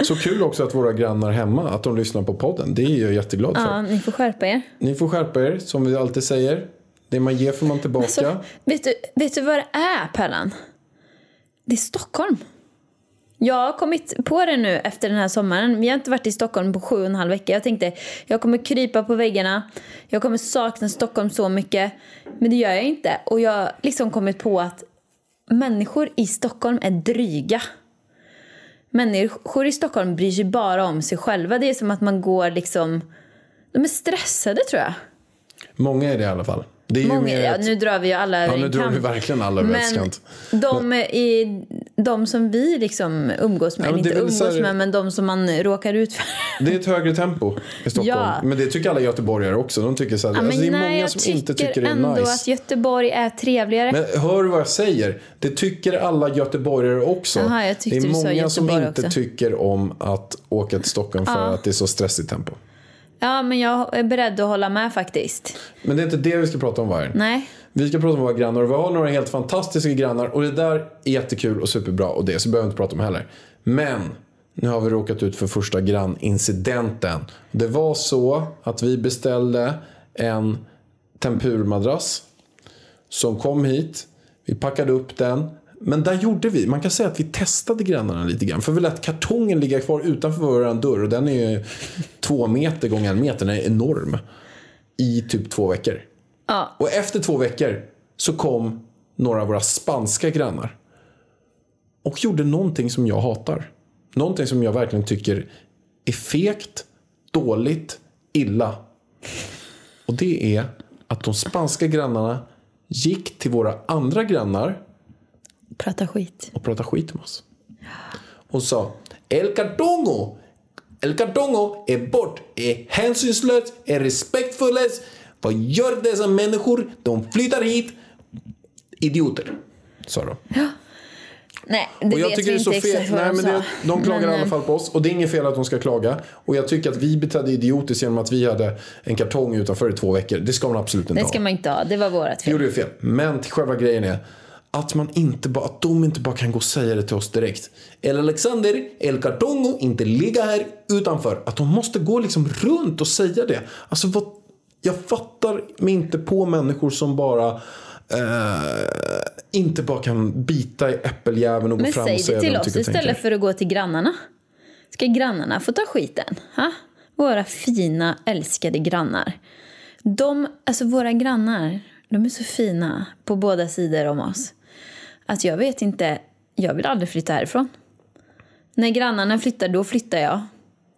S4: Så kul också att våra grannar hemma, att de lyssnar på podden. Det är jag jätteglad för.
S3: Ja, ni får skärpa er.
S4: Ni får skärpa er, som vi alltid säger. Det man ger får man tillbaka.
S3: Så, Alltså, vet, du, vet du vad det är Pärlan? Det är Stockholm. Jag har kommit på det nu efter den här sommaren. Vi har inte varit i Stockholm på sju och en halv vecka. Jag tänkte jag kommer krypa på väggarna. Jag kommer sakna Stockholm så mycket. Men det gör jag inte. Och jag har liksom kommit på att människor i Stockholm är dryga. Människor i Stockholm bryr sig bara om sig själva. Det är som att man går liksom... De är stressade tror jag.
S4: Många är det i alla fall. Det är ju
S3: Många,
S4: mer
S3: ja,
S4: ett-
S3: nu drar vi ju alla över
S4: Ja, nu
S3: en
S4: drar
S3: kam.
S4: vi verkligen alla över en kant.
S3: de, i, de som vi liksom umgås med,
S4: Ja,
S3: eller
S4: men det
S3: inte
S4: är väl
S3: umgås
S4: så här-
S3: med, men de som man råkar ut för.
S4: Det är ett högre tempo i Stockholm.
S3: Ja.
S4: Men det tycker alla göteborgare också. De tycker så här,
S3: Ja, men
S4: alltså, det är
S3: nej,
S4: många
S3: jag
S4: som
S3: tycker
S4: inte tycker det
S3: ändå
S4: är nice.
S3: att Göteborg är trevligare.
S4: Men hör vad jag säger. Det tycker alla göteborgare också.
S3: Jaha, jag
S4: det
S3: tyckte
S4: är
S3: du sa
S4: många som
S3: Göteborg
S4: inte
S3: också.
S4: tycker om att åka till Stockholm för att det är så stressigt tempo.
S3: Ja, men jag är beredd att hålla med faktiskt.
S4: Men det är inte det vi ska prata om vargen.
S3: Nej.
S4: Vi ska prata om våra grannar och vi har några helt fantastiska grannar och det där är jättekul och superbra och det så behöver vi inte prata om heller. Men nu har vi råkat ut för första grannincidenten. Det var så att vi beställde en tempurmadrass som kom hit. Vi packade upp den. Men där gjorde vi, man kan säga att vi testade grannarna lite grann. För vi lät kartongen ligga kvar utanför vår dörr och den är ju två meter gånger en meter, den är enorm. I typ två veckor.
S3: Ja,
S4: Och efter två veckor så kom några av våra spanska grannar. Och gjorde någonting som jag hatar. Någonting som jag verkligen tycker är fegt, dåligt, illa. Och det är att de spanska grannarna gick till våra andra grannar
S3: prata skit.
S4: och pratade skit om oss. Och sa El Cartongo! El Cartongo är bort, är hänsynslös, är respektfullös. Vad gör dessa människor? De flyttar hit. idioter, sa de.
S3: Nej, det
S4: Och jag
S3: vet
S4: tycker
S3: vi
S4: det är så
S3: inte
S4: fel.
S3: exakt vad
S4: Nej,
S3: de
S4: men
S3: sa.
S4: det, de klagar i
S3: Men,
S4: alla
S3: eh,
S4: fall på oss. Och det är inget fel att de ska klaga. Och jag tycker att vi betedde idiotiskt genom att vi hade en kartong utanför i två veckor. Det ska man absolut inte
S3: Det
S4: ha.
S3: ska man inte ha, det var vårt
S4: Det
S3: fel.
S4: gjorde vi fel. Men till själva grejen är att, man inte bara, att de inte bara kan gå och säga det till oss direkt. El Alexander, El Cartongo, inte ligga här utanför. Att de måste gå liksom runt och säga det. Alltså vad, jag fattar mig inte på människor som bara eh, inte bara kan bita i äppeljäveln och gå
S3: Men
S4: fram och
S3: säg
S4: säga
S3: det till
S4: de
S3: oss
S4: tycker och tänker.
S3: istället för att gå till grannarna. Ska grannarna få ta skiten? Ha? Våra fina, älskade grannar. De, alltså våra grannar, de är så fina på båda sidor om oss. Att jag vet inte, jag vill aldrig flytta härifrån. När grannarna flyttar, då flyttar jag.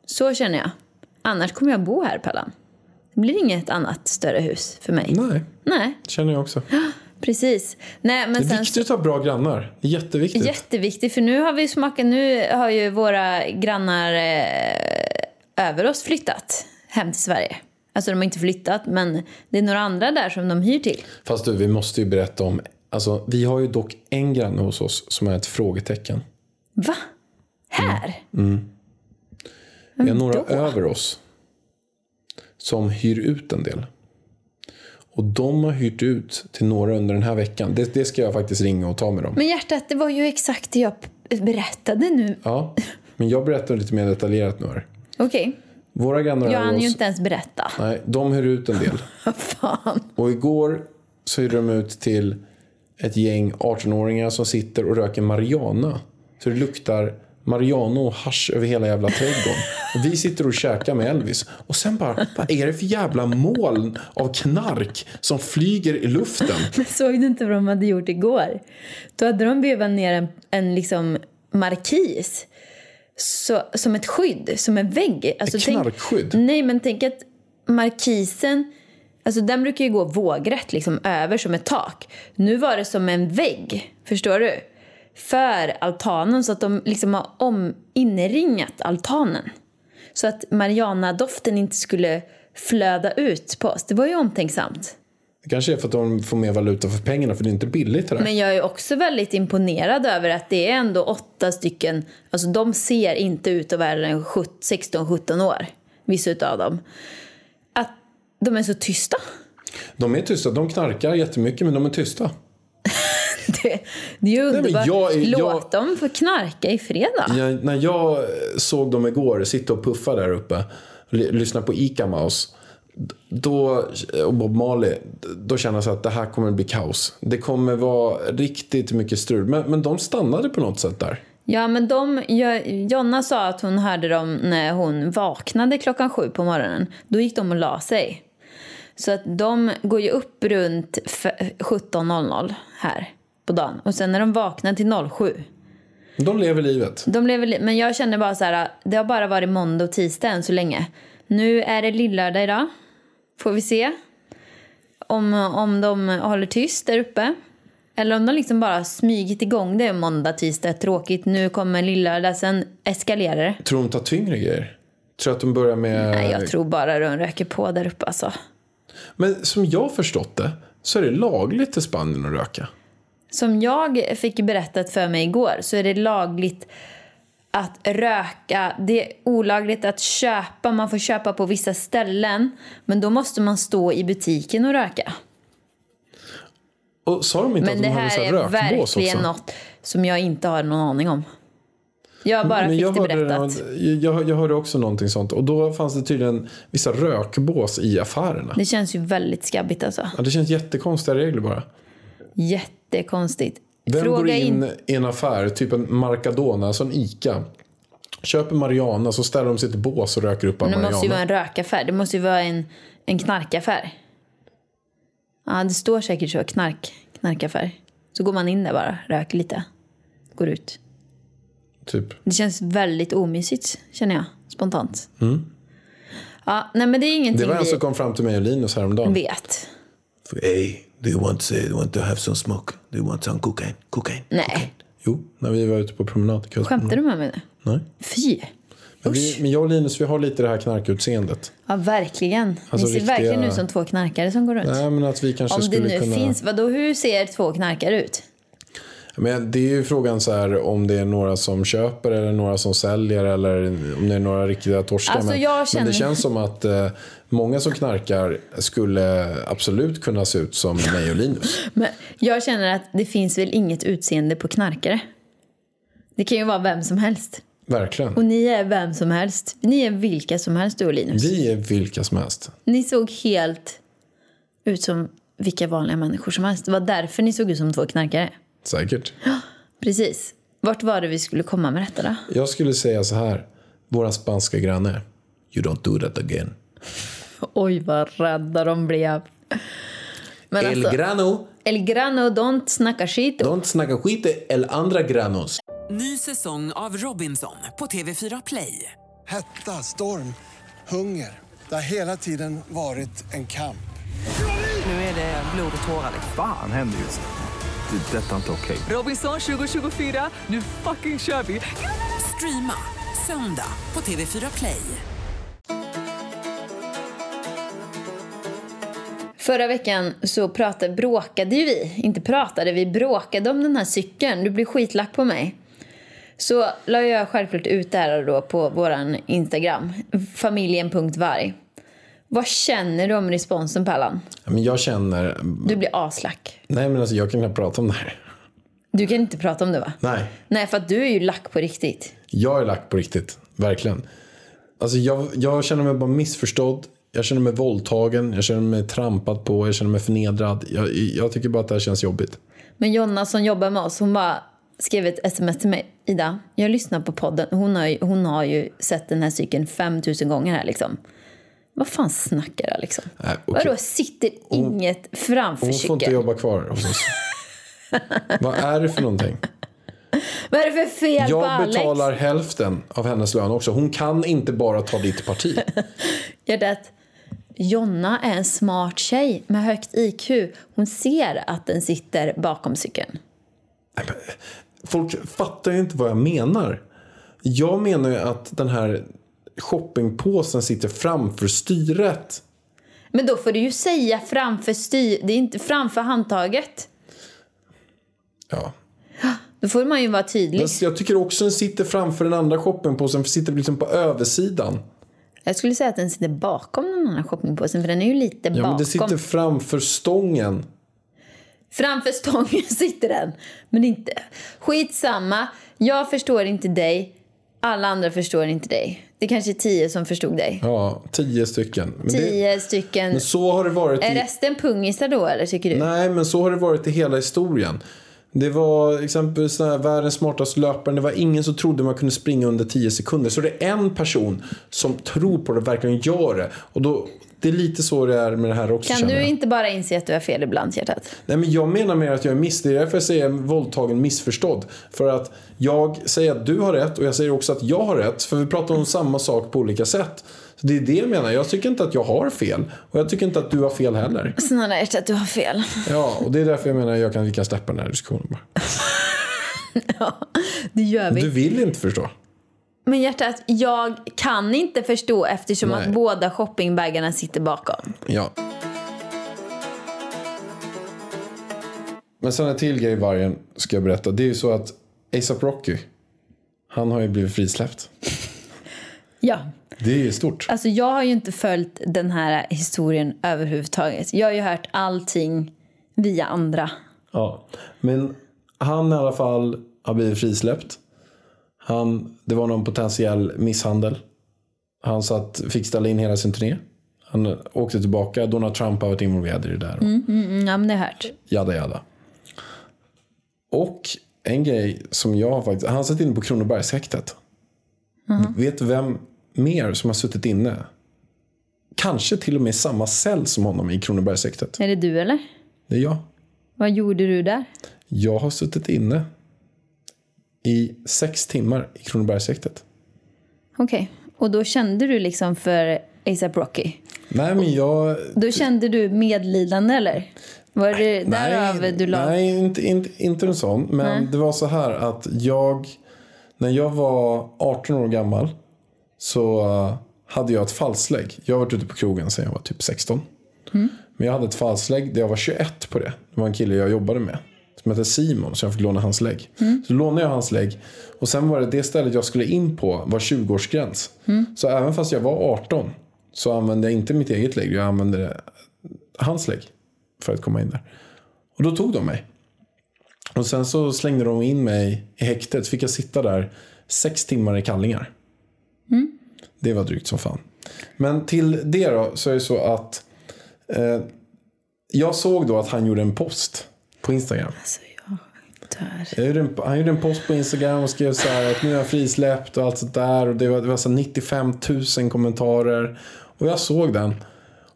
S3: Så känner jag. Annars kommer jag bo här, Pallan. Det blir inget annat större hus för mig.
S4: Nej,
S3: Nej,
S4: känner jag också.
S3: precis. Nej, men
S4: Det
S3: sen
S4: är
S3: så-
S4: viktigt att ha bra grannar. Det är jätteviktigt.
S3: Jätteviktigt, för nu har vi smakat, nu har ju våra grannar eh, över oss flyttat hem till Sverige. Alltså de har inte flyttat, men det är några andra där som de hyr till.
S4: Fast du, vi måste ju berätta om... Alltså, vi har ju dock en granne hos oss som är ett frågetecken.
S3: Va? Här?
S4: Vi har några
S3: då?
S4: över oss som hyr ut en del. Och de har hyrt ut till några under den här veckan. Det, det ska jag faktiskt ringa och ta med dem.
S3: Men hjärtat, det var ju exakt det jag p- berättade nu.
S4: Ja, men jag berättar lite mer detaljerat nu här.
S3: Okej,
S4: Våra grannar
S3: jag hann
S4: över
S3: ju
S4: oss,
S3: inte ens berätta.
S4: nej, de hyr ut en del.
S3: Fan.
S4: Och igår så hyrde de ut till ett gäng 18-åringar som sitter och röker marijuana. Så det luktar marijuana och hasch över hela jävla trädgården. Och vi sitter och käkar med Elvis. Och sen bara, vad är det för jävla moln av knark som flyger i luften?
S3: Men såg du inte vad de hade gjort igår? Då hade de vevat ner en, en liksom markis. Så, som ett skydd, som en vägg. Alltså,
S4: Ett
S3: tänk-
S4: knarkskydd?
S3: nej, men tänk att markisen, alltså den brukar ju gå vågrätt liksom över som ett tak. Nu var det som en vägg, förstår du? För altanen, så att de liksom har om, inringat altanen. Så att marijuana-doften inte skulle flöda ut på oss. Det var ju omtänksamt.
S4: Det kanske är för att de får mer valuta för pengarna för det är inte billigt det där.
S3: Men jag är också väldigt imponerad över att det är ändå åtta stycken, alltså de ser inte ut att vara en 16-17 år, vissa utav dem. Att de är så tysta.
S4: De är tysta, de knarkar jättemycket men de är tysta.
S3: Det, det är ju
S4: men
S3: underbart.
S4: jag är- jag-
S3: Låt dem få knarka i fredag.
S4: Jag, när jag såg dem igår sitta och puffa där uppe, ly- lyssna på Ica Mouse d- då, och Bob Marley, d- då kände jag så att det här kommer bli kaos. Det kommer vara riktigt mycket strul. Men, men de stannade på något sätt där.
S3: Ja, men de, jag, Jonna sa att hon hörde dem när hon vaknade klockan sju på morgonen. Då gick de och la sig. Så att de går ju upp runt f- 17.00 här på dagen. Och sen när de vaknar till 07.
S4: De lever livet.
S3: De lever, li- men jag känner bara så här, det har bara varit måndag och tisdag än så länge. Nu är det lillördag idag. Får vi se om, om de håller tyst där uppe. Eller om de liksom bara smygit igång det måndag, tisdag, tråkigt, nu kommer lillördag, sen eskalerar det.
S4: Tror de tar tyngre grejer? Tror att de börjar med...
S3: Nej, jag tror bara de röker på där uppe alltså.
S4: Men som jag har förstått det så är det lagligt i Spanien att röka.
S3: Som jag fick berättat för mig igår så är det lagligt att röka. Det är olagligt att köpa. Man får köpa på vissa ställen. Men då måste man stå i butiken och röka.
S4: Och sa de inte
S3: Men
S4: att
S3: det
S4: de hade
S3: här
S4: så
S3: är
S4: här rökbås
S3: verkligen
S4: också?
S3: något som jag inte har någon aning om. Jag bara fick det
S4: hörde
S3: berättat.
S4: någon- jag, jag hörde också någonting sånt. Och då fanns det tydligen vissa rökbås i affärerna.
S3: Det känns ju väldigt skabbigt alltså.
S4: Ja, det känns jättekonstiga regler bara.
S3: Jättekonstigt.
S4: Vem går
S3: Fråga
S4: in
S3: in...
S4: i en affär, typ en Marcadona, alltså en ICA. Köper Mariana så ställer de sig i ett bås och röker upp all
S3: Det måste ju vara
S4: Mariana.
S3: en rökaffär. Det måste ju vara en, en knarkaffär. Ja, det står säkert så. Knark, knarkaffär. Så går man in där bara, röker lite, går ut.
S4: Typ.
S3: Det känns väldigt omysigt, känner jag spontant.
S5: Mm.
S3: Ja, nej men det är
S4: Det
S3: ingenting
S4: var
S3: vi
S4: en
S5: alltså-
S4: som kom fram till mig och Linus häromdagen.
S3: vet.
S5: Hey, do you want to, want to have some smoke? Do you want some cocaine? Cocaine?
S3: Nej,
S4: Jo, när vi var ute på promenad.
S3: skämtar du med mig nu?
S4: Nej.
S3: Fy!
S4: Men, vi, men jag och Linus, vi har lite det här knarkutseendet.
S3: Ja, verkligen.
S4: Alltså
S3: Ni ser
S4: riktiga-
S3: verkligen ut som två knarkare som går runt.
S4: Nej, men att vi kanske
S3: Om det
S4: skulle
S3: nu
S4: kunna...
S3: finns, vadå hur ser två knarkare ut?
S4: Men det är ju frågan så här om det är några som köper eller några som säljer eller om det är några riktiga torskar.
S3: Alltså,
S4: men,
S3: jag
S4: men
S3: känner-
S4: det känns som att eh, många som knarkar skulle absolut kunna se ut som mig och Linus.
S3: Men jag känner att det finns väl inget utseende på knarkare? Det kan ju vara vem som helst. Och
S4: Verkligen.
S3: ni är vem som helst. Ni är vilka som helst du och Linus.
S4: Vi är vilka som helst.
S3: Ni såg helt ut som vilka vanliga människor som helst. Det var därför ni såg ut som två knarkare.
S4: Säkert.
S3: Precis. Vart var det vi skulle komma med detta då?
S4: Jag skulle säga så här. Våra spanska granne.
S5: You don't do that again.
S3: Oj, vad rädda de blev. Men
S5: El
S3: alltså,
S5: grano,
S3: El Grano don't snacka skit.
S5: don't snacka skit el andra granos.
S6: Ny säsong av Robinson på TV4 Play.
S7: Hetta, storm, hunger. Det har hela tiden varit en kamp.
S6: Nu är det blod och tårar.
S8: Fan händer just det. Det är detta inte okej.
S6: Robinson 2024, nu fucking kör vi! Streama söndag på TV4 Play.
S3: Förra veckan så pratade, bråkade ju vi, inte pratade, vi bråkade om den här cykeln. Du blir skitlack på mig. Så la jag självklart ut det här då på våran Instagram, familjen.varg. Vad känner du om responsen Pallan?
S4: Men jag känner...
S3: Du blir aslack.
S4: Nej men alltså jag kan knappt prata om det här.
S3: Du kan inte prata om det va?
S4: Nej.
S3: Nej, för att du är ju lack på riktigt.
S4: Jag är lack på riktigt. Verkligen. Alltså jag, jag känner mig bara missförstådd. Jag känner mig våldtagen. Jag känner mig trampad på. Jag känner mig förnedrad. Jag, jag tycker bara att det här känns jobbigt.
S3: Men Jonna som jobbar med oss, hon bara skrev ett sms till mig. Ida, jag lyssnar på podden. Hon har ju, hon har ju sett den här cykeln 5000 gånger här liksom. Vad fan snackar jag liksom?
S4: Äh, okej.
S3: Vadå, sitter inget framför
S4: Hon får inte
S3: cykeln?
S4: jobba kvar hos oss. Vad är det för någonting?
S3: Vad är det för fel på
S4: Jag
S3: Alex?
S4: betalar hälften av hennes lön också. Hon kan inte bara ta ditt parti.
S3: Gör det att Jonna är en smart tjej med högt IQ. Hon ser att den sitter bakom cykeln.
S4: Folk fattar ju inte vad jag menar. Jag menar ju att den här shoppingpåsen sitter framför styret.
S3: Men då får du ju säga framför styr... Det är inte framför handtaget.
S4: Ja,
S3: Då får man ju vara tydlig.
S4: Men jag tycker också den sitter framför den andra shoppingpåsen, för sitter liksom på översidan.
S3: Jag skulle säga att den sitter bakom den andra shoppingpåsen för den är ju lite
S4: Ja, men
S3: bakom.
S4: det sitter framför stången.
S3: Framför stången sitter den. Men inte... Skitsamma. Jag förstår inte dig. Alla andra förstår inte dig. Det är kanske är tio som förstod dig.
S4: Ja, tio stycken. Men det-
S3: Tio stycken.
S4: Men så har det varit
S3: Är
S4: i...
S3: resten pungisar då eller tycker du?
S4: Nej, men så har det varit i hela historien. Det var exempelvis den här världens smartaste löparen. Det var ingen som trodde man kunde springa under 10 sekunder. Så det är en person som tror på det och verkligen gör det. Och då, det är lite så det är med det här också
S3: kan
S4: känner
S3: du
S4: jag.
S3: inte bara inse att du har fel ibland, hjärtat?
S4: Nej men jag menar mer att jag är miss... Det är därför jag säger våldtagen missförstådd. För att jag säger att du har rätt och jag säger också att jag har rätt. För vi pratar om samma sak på olika sätt. Så det är det jag menar. Jag tycker inte att jag har fel. Och jag tycker inte att du har fel heller.
S3: Snälla hjärtat, du har fel.
S4: Ja, och det är därför jag menar att jag kan, vi kan släppa den här diskussionen bara.
S3: Det gör vi.
S4: Du vill inte förstå.
S3: Men hjärtat, jag kan inte förstå eftersom
S4: Nej.
S3: att båda shoppingbagarna sitter bakom.
S4: Ja. Men sen en till grej vargen ska jag berätta. Det är ju så att ASAP Rocky, han har ju blivit frisläppt.
S3: Ja.
S4: Det är ju stort.
S3: Alltså jag har ju inte följt den här historien överhuvudtaget. Jag har ju hört allting via andra.
S4: Ja, men han i alla fall har blivit frisläppt. Han, det var någon potentiell misshandel. Han satt, fick ställa in hela sin turné. Han åkte tillbaka. Donald Trump har varit involverad i det där.
S3: Mm, ja, men det har jag hört.
S4: Jada jada. Och en grej som jag har faktiskt... Han satt inne på Kronobergshäktet. Vet du vem mer som har suttit inne? Kanske till och med i samma cell som honom i Kronobergshäktet.
S3: Är det du eller?
S4: Det är jag.
S3: Vad gjorde du där?
S4: Jag har suttit inne i sex timmar i Kronobergshäktet.
S3: Okej. Och då kände du liksom för ASAP Rocky?
S4: Nej, men jag...
S3: Då kände du medlidande eller? Var det därav du la...
S4: nej inte, inte, inte en sån. Men det var så här att jag, när jag var 18 år gammal så eh, hade jag ett falslägg. Jag har varit ute på krogen sedan jag var typ 16.
S3: Mm.
S4: Men jag hade ett falslägg där jag var 21 på det. Det var en kille jag jobbade med. Som hette Simon, så jag fick låna hans lägg.
S3: Mm.
S4: Så lånade jag hans lägg. Och sen var det det stället jag skulle in på var 20-årsgräns.
S3: Mm.
S4: Så även fast jag var 18 så använde jag inte mitt eget lägg. Jag använde det- hans lägg för att komma in där. Och då tog de mig. Och sen så slängde de in mig i häktet. Fick jag sitta där sex timmar i kallingar.
S3: Mm.
S4: Det var drygt som fan. Men till det då så är det så att eh, jag såg då att han gjorde en post på Instagram.
S3: Alltså jag dör.
S4: Jag gjorde en, han gjorde en post på Instagram och skrev så här att nu är jag frisläppt och allt sånt där. Och det var, det var så här 95 000 kommentarer. Och jag såg den.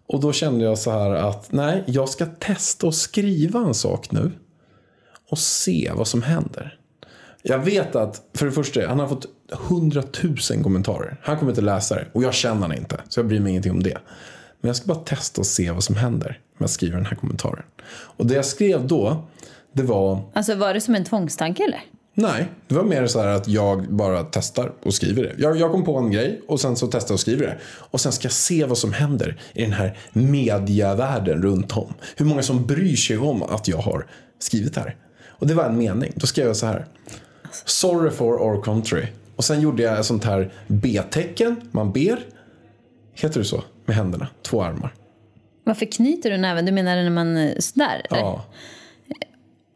S4: Och då kände jag så här att nej, jag ska testa och skriva en sak nu. Och se vad som händer. Jag vet att, för det första, han har fått 100 000 kommentarer. Han kommer inte läsa det. Och jag känner honom inte, så jag bryr mig ingenting om det. Men jag ska bara testa och se vad som händer om jag skriver den här kommentaren. Och det jag skrev då, det var
S3: Alltså var det som en tvångstanke eller?
S4: Nej, det var mer så här att jag bara testar och skriver det. Jag, jag kom på en grej och sen så testar jag och skriver det. Och sen ska jag se vad som händer i den här mediavärlden runt om. Hur många som bryr sig om att jag har skrivit det här. Och det var en mening. Då skrev jag så här. Sorry for our country. Och sen gjorde jag ett sånt här B-tecken. Man ber. Heter det så? Med händerna. Två armar.
S3: Varför knyter du näven? Du menar när man eh, sådär? eller?
S4: Ja.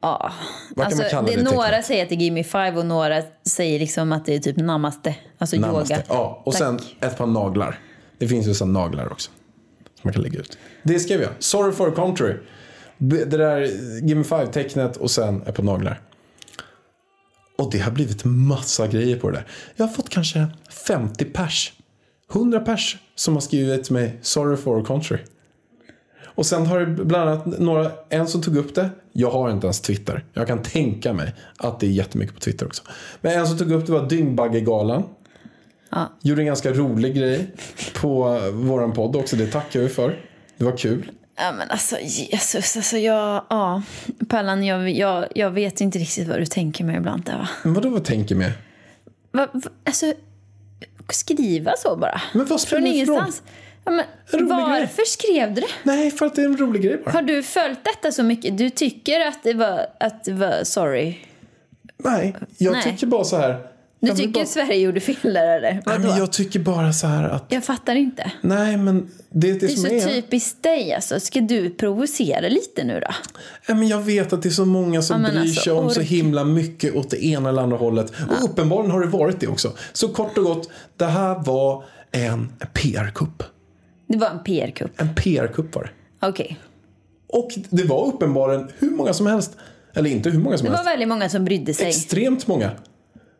S3: ja.
S4: kan man
S3: Alltså,
S4: kalla
S3: det
S4: det
S3: några
S4: tecknet?
S3: säger att det är Gimme Five och några säger liksom att det är typ namaste. Alltså
S4: Namaste.
S3: yoga.
S4: Ja, och
S3: Tack.
S4: sen ett par naglar. Det finns ju sådana naglar också. Som man kan lägga ut. Det skrev jag. Sorry for country. B- Det där Gimme Five-tecknet och sen ett par naglar. Och det har blivit massa grejer på det där. Jag har fått kanske 50 pers. 100 pers som har skrivit till mig Sorry for country. Och sen har det bland annat några, en som tog upp det. Jag har inte ens Twitter. Jag kan tänka mig att det är jättemycket på Twitter också. Men en som tog upp det var Dyngbaggegalan. Gjorde en ganska rolig grej på våran podd också. Det tackar vi för. Det var kul.
S3: Ja men alltså Jesus, alltså jag, ja. Pallan, jag, jag, jag vet inte riktigt vad du tänker med ibland där va?
S4: Men vadå vad tänker med?
S3: va, va alltså, skriva så bara.
S4: Men vad spelar
S3: Från
S4: det för roll?
S3: ingenstans. Ja, men,
S4: rolig
S3: varför skrev du det?
S4: Nej, för att det är en rolig grej bara.
S3: Har du följt detta så mycket? Du tycker att det var, att det var sorry?
S4: Nej, jag
S3: Nej.
S4: tycker bara så här.
S3: Du
S4: Jag vill
S3: tycker
S4: bara...
S3: Sverige gjorde fel där eller?
S4: Nej,
S3: Vadå?
S4: men
S3: jag...
S4: jag tycker bara så här att.
S3: fattar inte.
S4: Nej, men det är det,
S3: Det är
S4: som
S3: så
S4: är.
S3: typiskt dig alltså. Ska du provocera lite nu då?
S4: Nej, men jag vet att det är så många som
S3: Ja, men
S4: bryr
S3: alltså,
S4: sig om så
S3: ork.
S4: himla mycket åt det ena eller andra hållet. Och uppenbarligen har det varit det också. Så kort och gott, det här var en PR-kupp.
S3: Det var en PR-kupp.
S4: En PR-kupp var det.
S3: Okej.
S4: Och det var uppenbarligen hur många som helst. Eller inte hur många som
S3: Det var
S4: helst.
S3: väldigt många som brydde sig.
S4: Extremt många.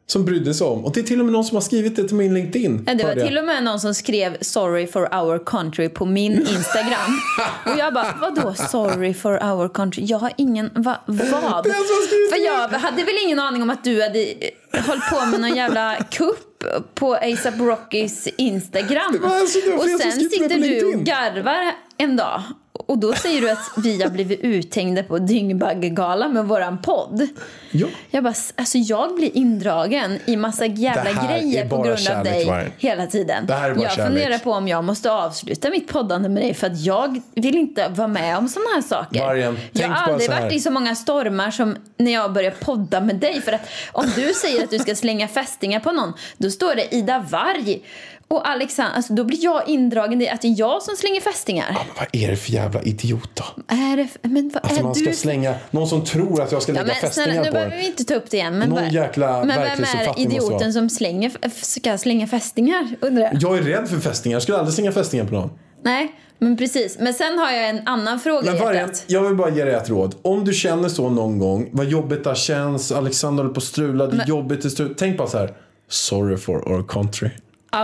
S4: Som brydde sig om. Och det är till och med någon som har skrivit det till min LinkedIn.
S3: Ja, det var
S4: hörde jag.
S3: till och med någon som skrev “Sorry for our country” på min Instagram. och jag bara, vadå “Sorry for our country”? Jag har ingen, va, vad?
S4: Den som skrivit
S3: För
S4: det.
S3: jag hade väl ingen aning om att du hade eh, hållit på med någon jävla kupp på ASAP Rockys Instagram.
S4: var alltså det var
S3: och
S4: jag som
S3: sen
S4: skrev det på
S3: sitter du och
S4: LinkedIn.
S3: garvar en dag. Och då säger du att vi har blivit uthängda på Dyngbaggegalan med våran podd.
S4: Ja.
S3: Jag bara, alltså jag blir indragen i massa jävla
S4: Det här
S3: grejer
S4: är
S3: på
S4: bara
S3: grund av
S4: kärlek,
S3: dig
S4: Maren.
S3: hela tiden.
S4: Det här är bara
S3: jag
S4: kärlek.
S3: funderar på om jag måste avsluta mitt poddande med dig för att jag vill inte vara med om sådana här saker.
S4: Mariam,
S3: jag
S4: tänk
S3: har
S4: bara
S3: aldrig
S4: så här.
S3: varit i så många stormar som när jag började podda med dig. För att om du säger att du ska slänga fästingar på någon, då står det Ida Varg och Alexander. Alltså, då blir jag indragen i att det är jag som slänger fästingar.
S4: Men vad är det för jävla idiot då?
S3: Är det, men vad
S4: Att
S3: är
S4: Alltså, man
S3: du
S4: ska
S3: för-
S4: slänga någon som tror att jag ska
S3: Ja,
S4: lägga
S3: men
S4: fästingar
S3: snälla, nu
S4: på den.
S3: behöver vi inte ta upp det igen. Men,
S4: Någon
S3: bara-
S4: jäkla
S3: men vem är
S4: verklighetsuppfattning måste
S3: idioten
S4: vara.
S3: som slänger, f- ska slänga fästingar? Undrar jag.
S4: Jag är rädd för fästingar. Jag skulle aldrig slänga fästingar på någon.
S3: Nej, men precis. Men sen har jag en annan fråga
S4: Men
S3: i
S4: varje,
S3: hjärtat.
S4: jag vill bara ge dig ett råd. Om du känner så någon gång, vad jobbigt det här känns, Alexander håller på att strula, det är jobbigt, det strul. Tänk bara så här. Sorry for our country.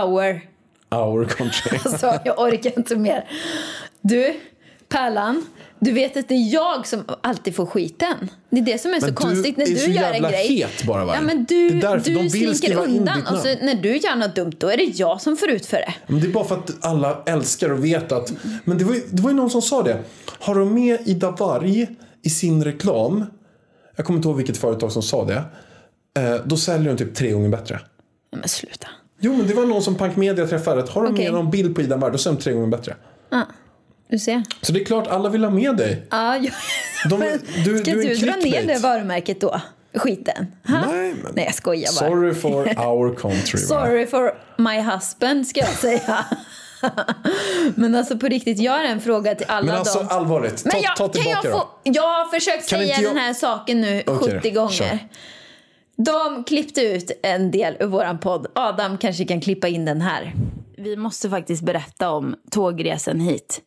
S3: Hour.
S4: Our country.
S3: Alltså, jag orkar inte mer. Du, Pärlan. Du vet att det är jag som alltid får skiten. Det är det som är så
S4: Men du
S3: konstigt när
S4: är
S3: du
S4: så
S3: gör en
S4: jävla
S3: grej.
S4: het bara, va?
S3: ja, men du,
S4: Det är därför
S3: du
S4: de vill
S3: slinker
S4: skriva in
S3: undan.
S4: ditt
S3: Och så
S4: namn.
S3: när du gör något dumt, då är det jag som får ut för det.
S4: Men det är bara för att alla älskar och vet att... Men det var ju, det var ju någon som sa det. Har de med Ida Varg i sin reklam, jag kommer inte ihåg vilket företag som sa det, eh, då säljer de typ tre gånger bättre.
S3: Nej, Men sluta.
S4: Jo, men det var någon som Punk Media träffade. Har de
S3: Okej.
S4: med någon bild på Ida Värld och sen tre gånger bättre.
S3: Du ser.
S4: Så det är klart, alla vill ha med dig.
S3: Ja, jag...
S4: De,
S3: Men,
S4: du,
S3: ska
S4: du är
S3: du
S4: en
S3: dra ner
S4: clickbait.
S3: det varumärket då? Skiten. Ha?
S4: Nej, men-
S3: Nej, jag skojar bara.
S4: Sorry for our country. va?
S3: Sorry for my husband ska jag säga. Men alltså på riktigt, jag har en fråga till alla
S4: Men alltså
S3: dem.
S4: allvarligt, ta,
S3: Men jag,
S4: ta
S3: kan
S4: tillbaka
S3: jag, få,
S4: då.
S3: jag har försökt
S4: Kan
S3: säga
S4: inte jag-
S3: den här saken nu
S4: Okej,
S3: 70 gånger.
S4: kör.
S3: De klippte ut en del ur våran podd. Adam kanske kan klippa in den här. Vi måste faktiskt berätta om tågresan hit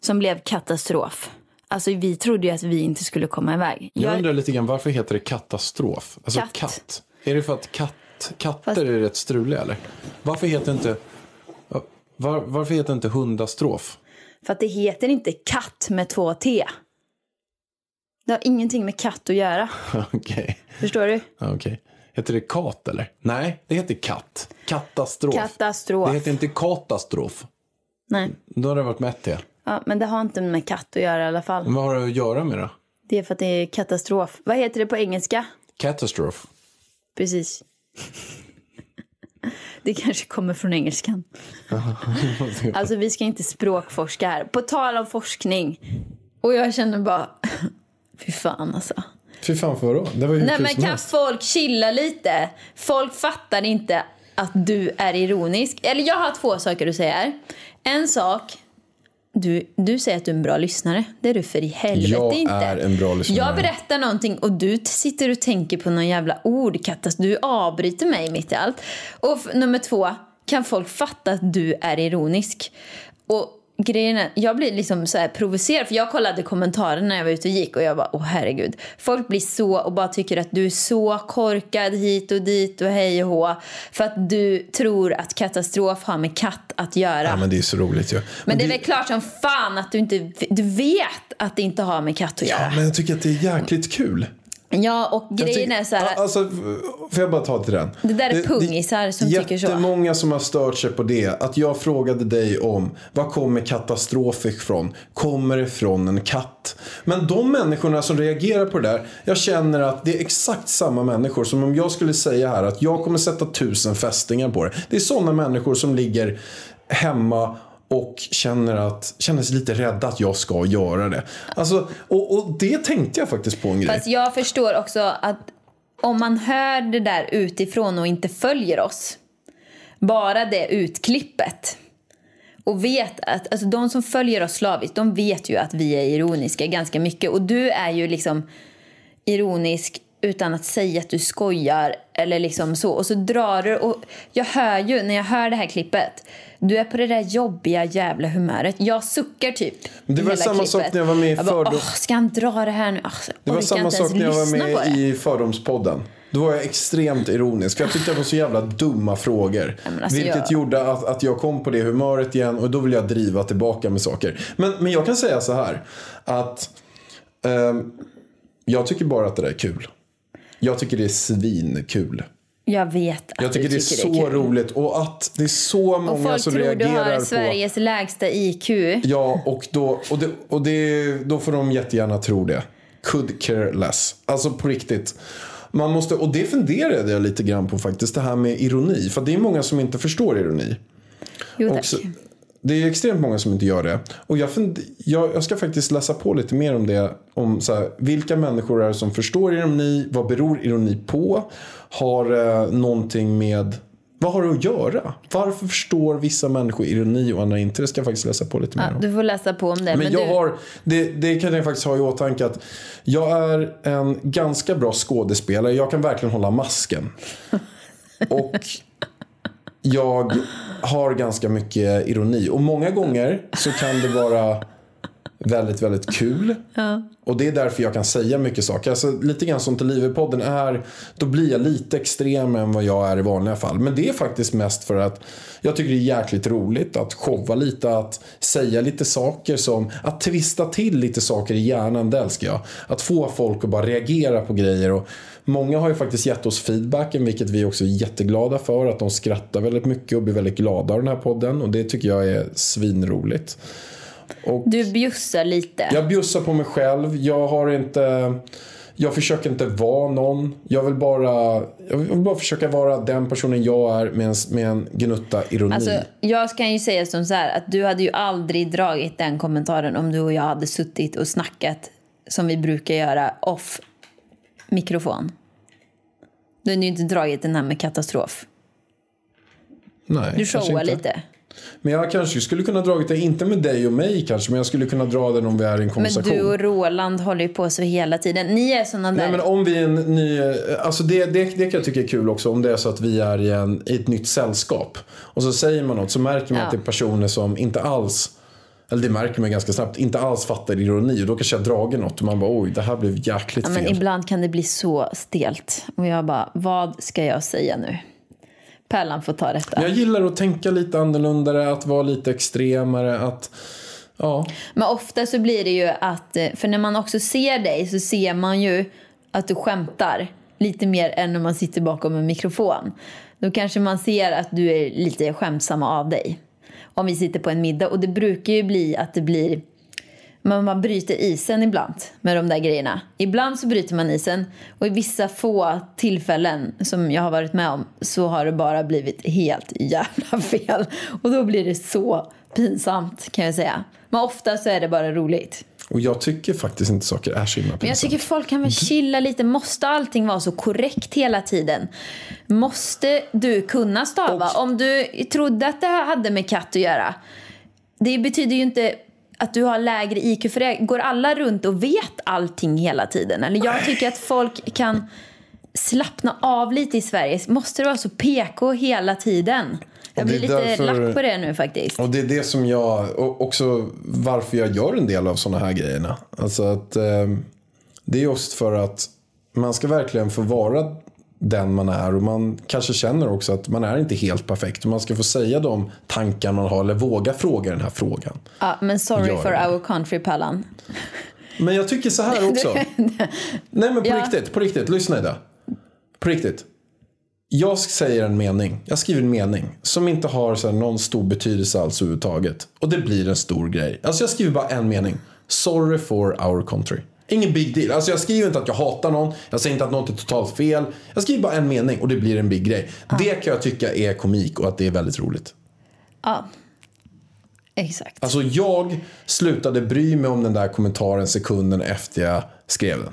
S3: som blev katastrof. Alltså vi trodde ju att vi inte skulle komma iväg.
S4: Jag undrar lite grann, varför heter det katastrof? Alltså
S3: Katt.
S4: katt. Är det för att katt, katter är rätt struliga eller? Varför heter inte, var, varför heter inte hundastrof?
S3: För att det heter inte katt med två T. Det har ingenting med katt att göra.
S4: Okej,
S3: Förstår du?
S4: ja, okej. Heter det kat eller? Nej, det heter katt. Katastrof.
S3: Katastrof.
S4: Det heter inte katastrof.
S3: Nej.
S4: Då har det varit med ett T.
S3: Ja, men det har inte med katt att göra i alla fall.
S4: Men vad har det att göra med då?
S3: Det är för att det är katastrof. Vad heter det på engelska?
S4: Katastrof.
S3: Precis. Det kanske kommer från engelskan. Alltså vi ska inte språkforska här. På tal om forskning. Och jag känner bara, fy fan alltså.
S4: Fy fan för vadå? Det var ju
S3: Nej men kan folk chilla lite? Folk fattar inte att du är ironisk. Eller jag har två saker att säga här. En sak. Du, du säger att du är en bra lyssnare. Det är du för i helvete
S4: Jag
S3: inte.
S4: är en bra lyssnare.
S3: Jag berättar någonting och du t- sitter och tänker på någon jävla ordkatastrof. Du avbryter mig mitt i allt. Och f- nummer två. Kan folk fatta att du är ironisk? Och grejen är, jag blir liksom så här provocerad för jag kollade kommentarerna när jag var ute och gick och jag bara åh herregud. Folk blir så och bara tycker att du är så korkad hit och dit och hej och hå för att du tror att katastrof har med katt att göra.
S4: Ja,
S3: men
S4: men det är så roligt ju.
S3: det är väl klart som fan att du inte du vet att det inte har med katt att göra.
S4: Men jag tycker att det är jäkligt kul.
S3: Ja, och
S4: Jag
S3: grejen
S4: tycker-
S3: är så här.
S4: Ja, Alltså, får jag bara ta till den?
S3: Det där är pungisar som tycker så.
S4: Jättemånga som har stört sig på det. Att jag frågade dig om vad kommer katastrof ifrån? Kommer det från en katt? Men de människorna som reagerar på det där. Jag känner att det är exakt samma människor som om jag skulle säga här att jag kommer sätta tusen fästingar på det. Det är sådana människor som ligger hemma och känner, att, känner sig lite rädda att jag ska göra det. Alltså, och, och det tänkte jag faktiskt på en grej.
S3: Fast jag förstår också att om man hör det där utifrån och inte följer oss, bara det utklippet och vet att, alltså de som följer oss slaviskt, de vet ju att vi är ironiska ganska mycket och du är ju liksom ironisk utan att säga att du skojar eller liksom så och så drar du och jag hör ju när jag hör det här klippet du är på det där jobbiga jävla humöret. Jag suckar typ.
S4: det
S3: i
S4: var
S3: hela
S4: samma sak när jag var med i
S3: bara,
S4: Fördom-
S3: "Åh, Ska han dra det här nu? Alltså,
S4: Det var
S3: orkar
S4: samma
S3: inte ens
S4: sak när jag var
S3: lyssna på
S4: med
S3: det.
S4: i Fördomspodden. Då var jag extremt ironisk. För jag tyckte det var så jävla dumma frågor.
S3: men alltså
S4: vilket
S3: jag-
S4: gjorde att, att jag kom på det humöret igen och då vill jag driva tillbaka med saker. Men, men jag kan säga så här. Att ehm, jag tycker bara att det där är kul. Jag tycker det är svinkul.
S3: Jag vet att
S4: Jag tycker,
S3: du
S4: det är så
S3: kul.
S4: roligt. Och att det är så
S3: Och
S4: många
S3: folk
S4: som
S3: tror du
S4: reagerar
S3: har
S4: på...
S3: Sveriges lägsta IQ.
S4: Ja, och, då, och, det, och det, då får de jättegärna tro det. Could care less. Alltså på riktigt. Man måste, och det funderade jag lite grann på faktiskt, det här med ironi. För det är många som inte förstår ironi.
S3: Jo
S4: Och
S3: tack.
S4: så- det är extremt många som inte gör det. Och jag, fund, jag, jag ska faktiskt läsa på lite mer om det. Om så här, vilka människor är det som förstår ironi? Vad beror ironi på? Har eh, någonting med... Vad har det att göra? Varför förstår vissa människor ironi och andra inte? Det ska jag faktiskt läsa på lite mer
S3: Ja,
S4: om.
S3: du får läsa på om det. Men,
S4: Men, jag
S3: du,
S4: har, det, det kan jag faktiskt ha i åtanke att jag är en ganska bra skådespelare. Jag kan verkligen hålla masken. Och jag har ganska mycket ironi. Och många gånger så kan det vara väldigt, väldigt kul. Och det är därför jag kan säga mycket saker. Alltså, lite grann som till Liverpodden är, då blir jag lite extremare än vad jag är i vanliga fall. Men det är faktiskt mest för att jag tycker det är jäkligt roligt att showa lite, att säga lite saker som, att twista till lite saker i hjärnan, det älskar jag. Att få folk att bara reagera på grejer. Och många har ju faktiskt gett oss feedbacken, vilket vi också är jätteglada för. Att de skrattar väldigt mycket och blir väldigt glada av den här podden. Och det tycker jag är svinroligt.
S3: du bjussar lite.
S4: Jag bjussar på mig själv. Jag har inte... Jag försöker inte vara någon. Jag vill bara, jag vill bara försöka vara den personen jag är med en, med en gnutta ironi.
S3: Alltså, jag kan ju säga som så här att du hade ju aldrig dragit den kommentaren om du och jag hade suttit och snackat som vi brukar göra off mikrofon. Du hade ju inte dragit den här med katastrof.
S4: Nej,
S3: Du
S4: kanske
S3: showar
S4: inte.
S3: lite.
S4: Men jag kanske skulle kunna dragit det, inte med dig och mig kanske, men jag skulle kunna dra den om vi är i en
S3: Men
S4: konversation.
S3: du och Roland håller ju på så hela tiden. Ni är såna där.
S4: Nej men om vi är en ny, alltså det, det, det kan jag tycka är kul också om det är så att vi är i, en, i ett nytt sällskap. Och så säger man något så märker man
S3: Ja.
S4: att det är personer som inte alls, eller det märker man ganska snabbt, inte alls fattar ironi. Och då kanske jag drager något och man bara oj det här blev jäkligt
S3: ja, men
S4: fel.
S3: ibland kan det bli så stelt. Och jag bara, vad ska jag säga nu? Pärlan får ta detta.
S4: Men jag gillar att tänka lite annorlunda, att vara lite extremare, att ja.
S3: Men ofta så blir det ju att, eh, för när man också ser dig så ser man ju att du skämtar lite mer än när man sitter bakom en mikrofon. Då kanske man ser att du är lite skämtsam av dig. Om vi sitter på en middag och det brukar ju bli att det blir man, man bryter isen ibland med de där grejerna. Ibland så bryter man isen och i vissa få tillfällen som jag har varit med om så har det bara blivit helt jävla fel. Och då blir det så pinsamt kan jag säga. Men ofta så är det bara roligt.
S4: Och jag tycker faktiskt inte saker är så himla
S3: Men jag
S4: pinsamt.
S3: tycker folk
S4: Mhm.
S3: kan väl chilla lite. Måste allting vara så korrekt hela tiden? Måste du kunna stava? Om du trodde att det här hade med katt att göra. Det betyder ju inte att du har lägre IQ för det. Går alla runt och vet allting hela tiden? Eller jag tycker att folk kan slappna av lite i Sverige. Måste det vara så PK hela tiden? Jag
S4: Och
S3: blir
S4: det är
S3: lite
S4: därför-
S3: lack på det nu faktiskt.
S4: Och det är det som jag, och också varför jag gör en del av sådana här grejerna. Alltså att eh, det är just för att man ska verkligen få vara den man är och man kanske känner också att man är inte helt perfekt och man ska få säga de tankar man har eller våga fråga den här frågan.
S3: Ja, men sorry
S4: Gör
S3: for
S4: det.
S3: our country, Pallan.
S4: Men jag tycker så här också. Nej men på
S3: Ja.
S4: riktigt, på riktigt. Lyssna Ida. På riktigt. Jag säger en mening. Jag skriver en mening som inte har så här, någon stor betydelse alls överhuvudtaget. Och det blir en stor grej. Alltså jag skriver bara en mening. Sorry for our country. Ingen big deal. Alltså jag skriver inte att jag hatar någon. Jag säger inte att något är totalt fel. Jag skriver bara en mening och det blir en big grej. Det kan jag tycka är komik och att det är väldigt roligt.
S3: Ja, exakt.
S4: Alltså jag slutade bry mig om den där kommentaren sekunden efter jag skrev den.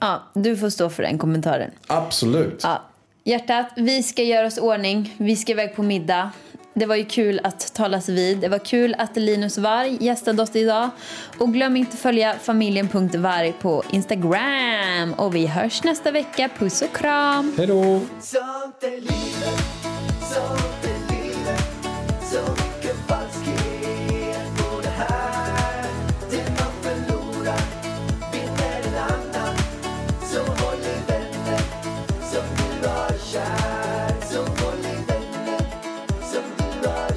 S3: Ja, du får stå för den kommentaren.
S4: Absolut.
S3: Ja. Hjärtat, vi ska göra oss i ordning. Vi ska iväg på middag. Det var ju kul att talas vid. Det var kul att Linus Varg gästade oss idag. Och glöm inte följa familjen.varg på Instagram. Och vi hörs nästa vecka. Puss och kram!
S4: Hej då!
S1: Sånt är livet, sånt är livet Så mycket falskhet på det här Det man förlorar vinner en annan Så håll i vänner som du har kär Så håll i vänner som du har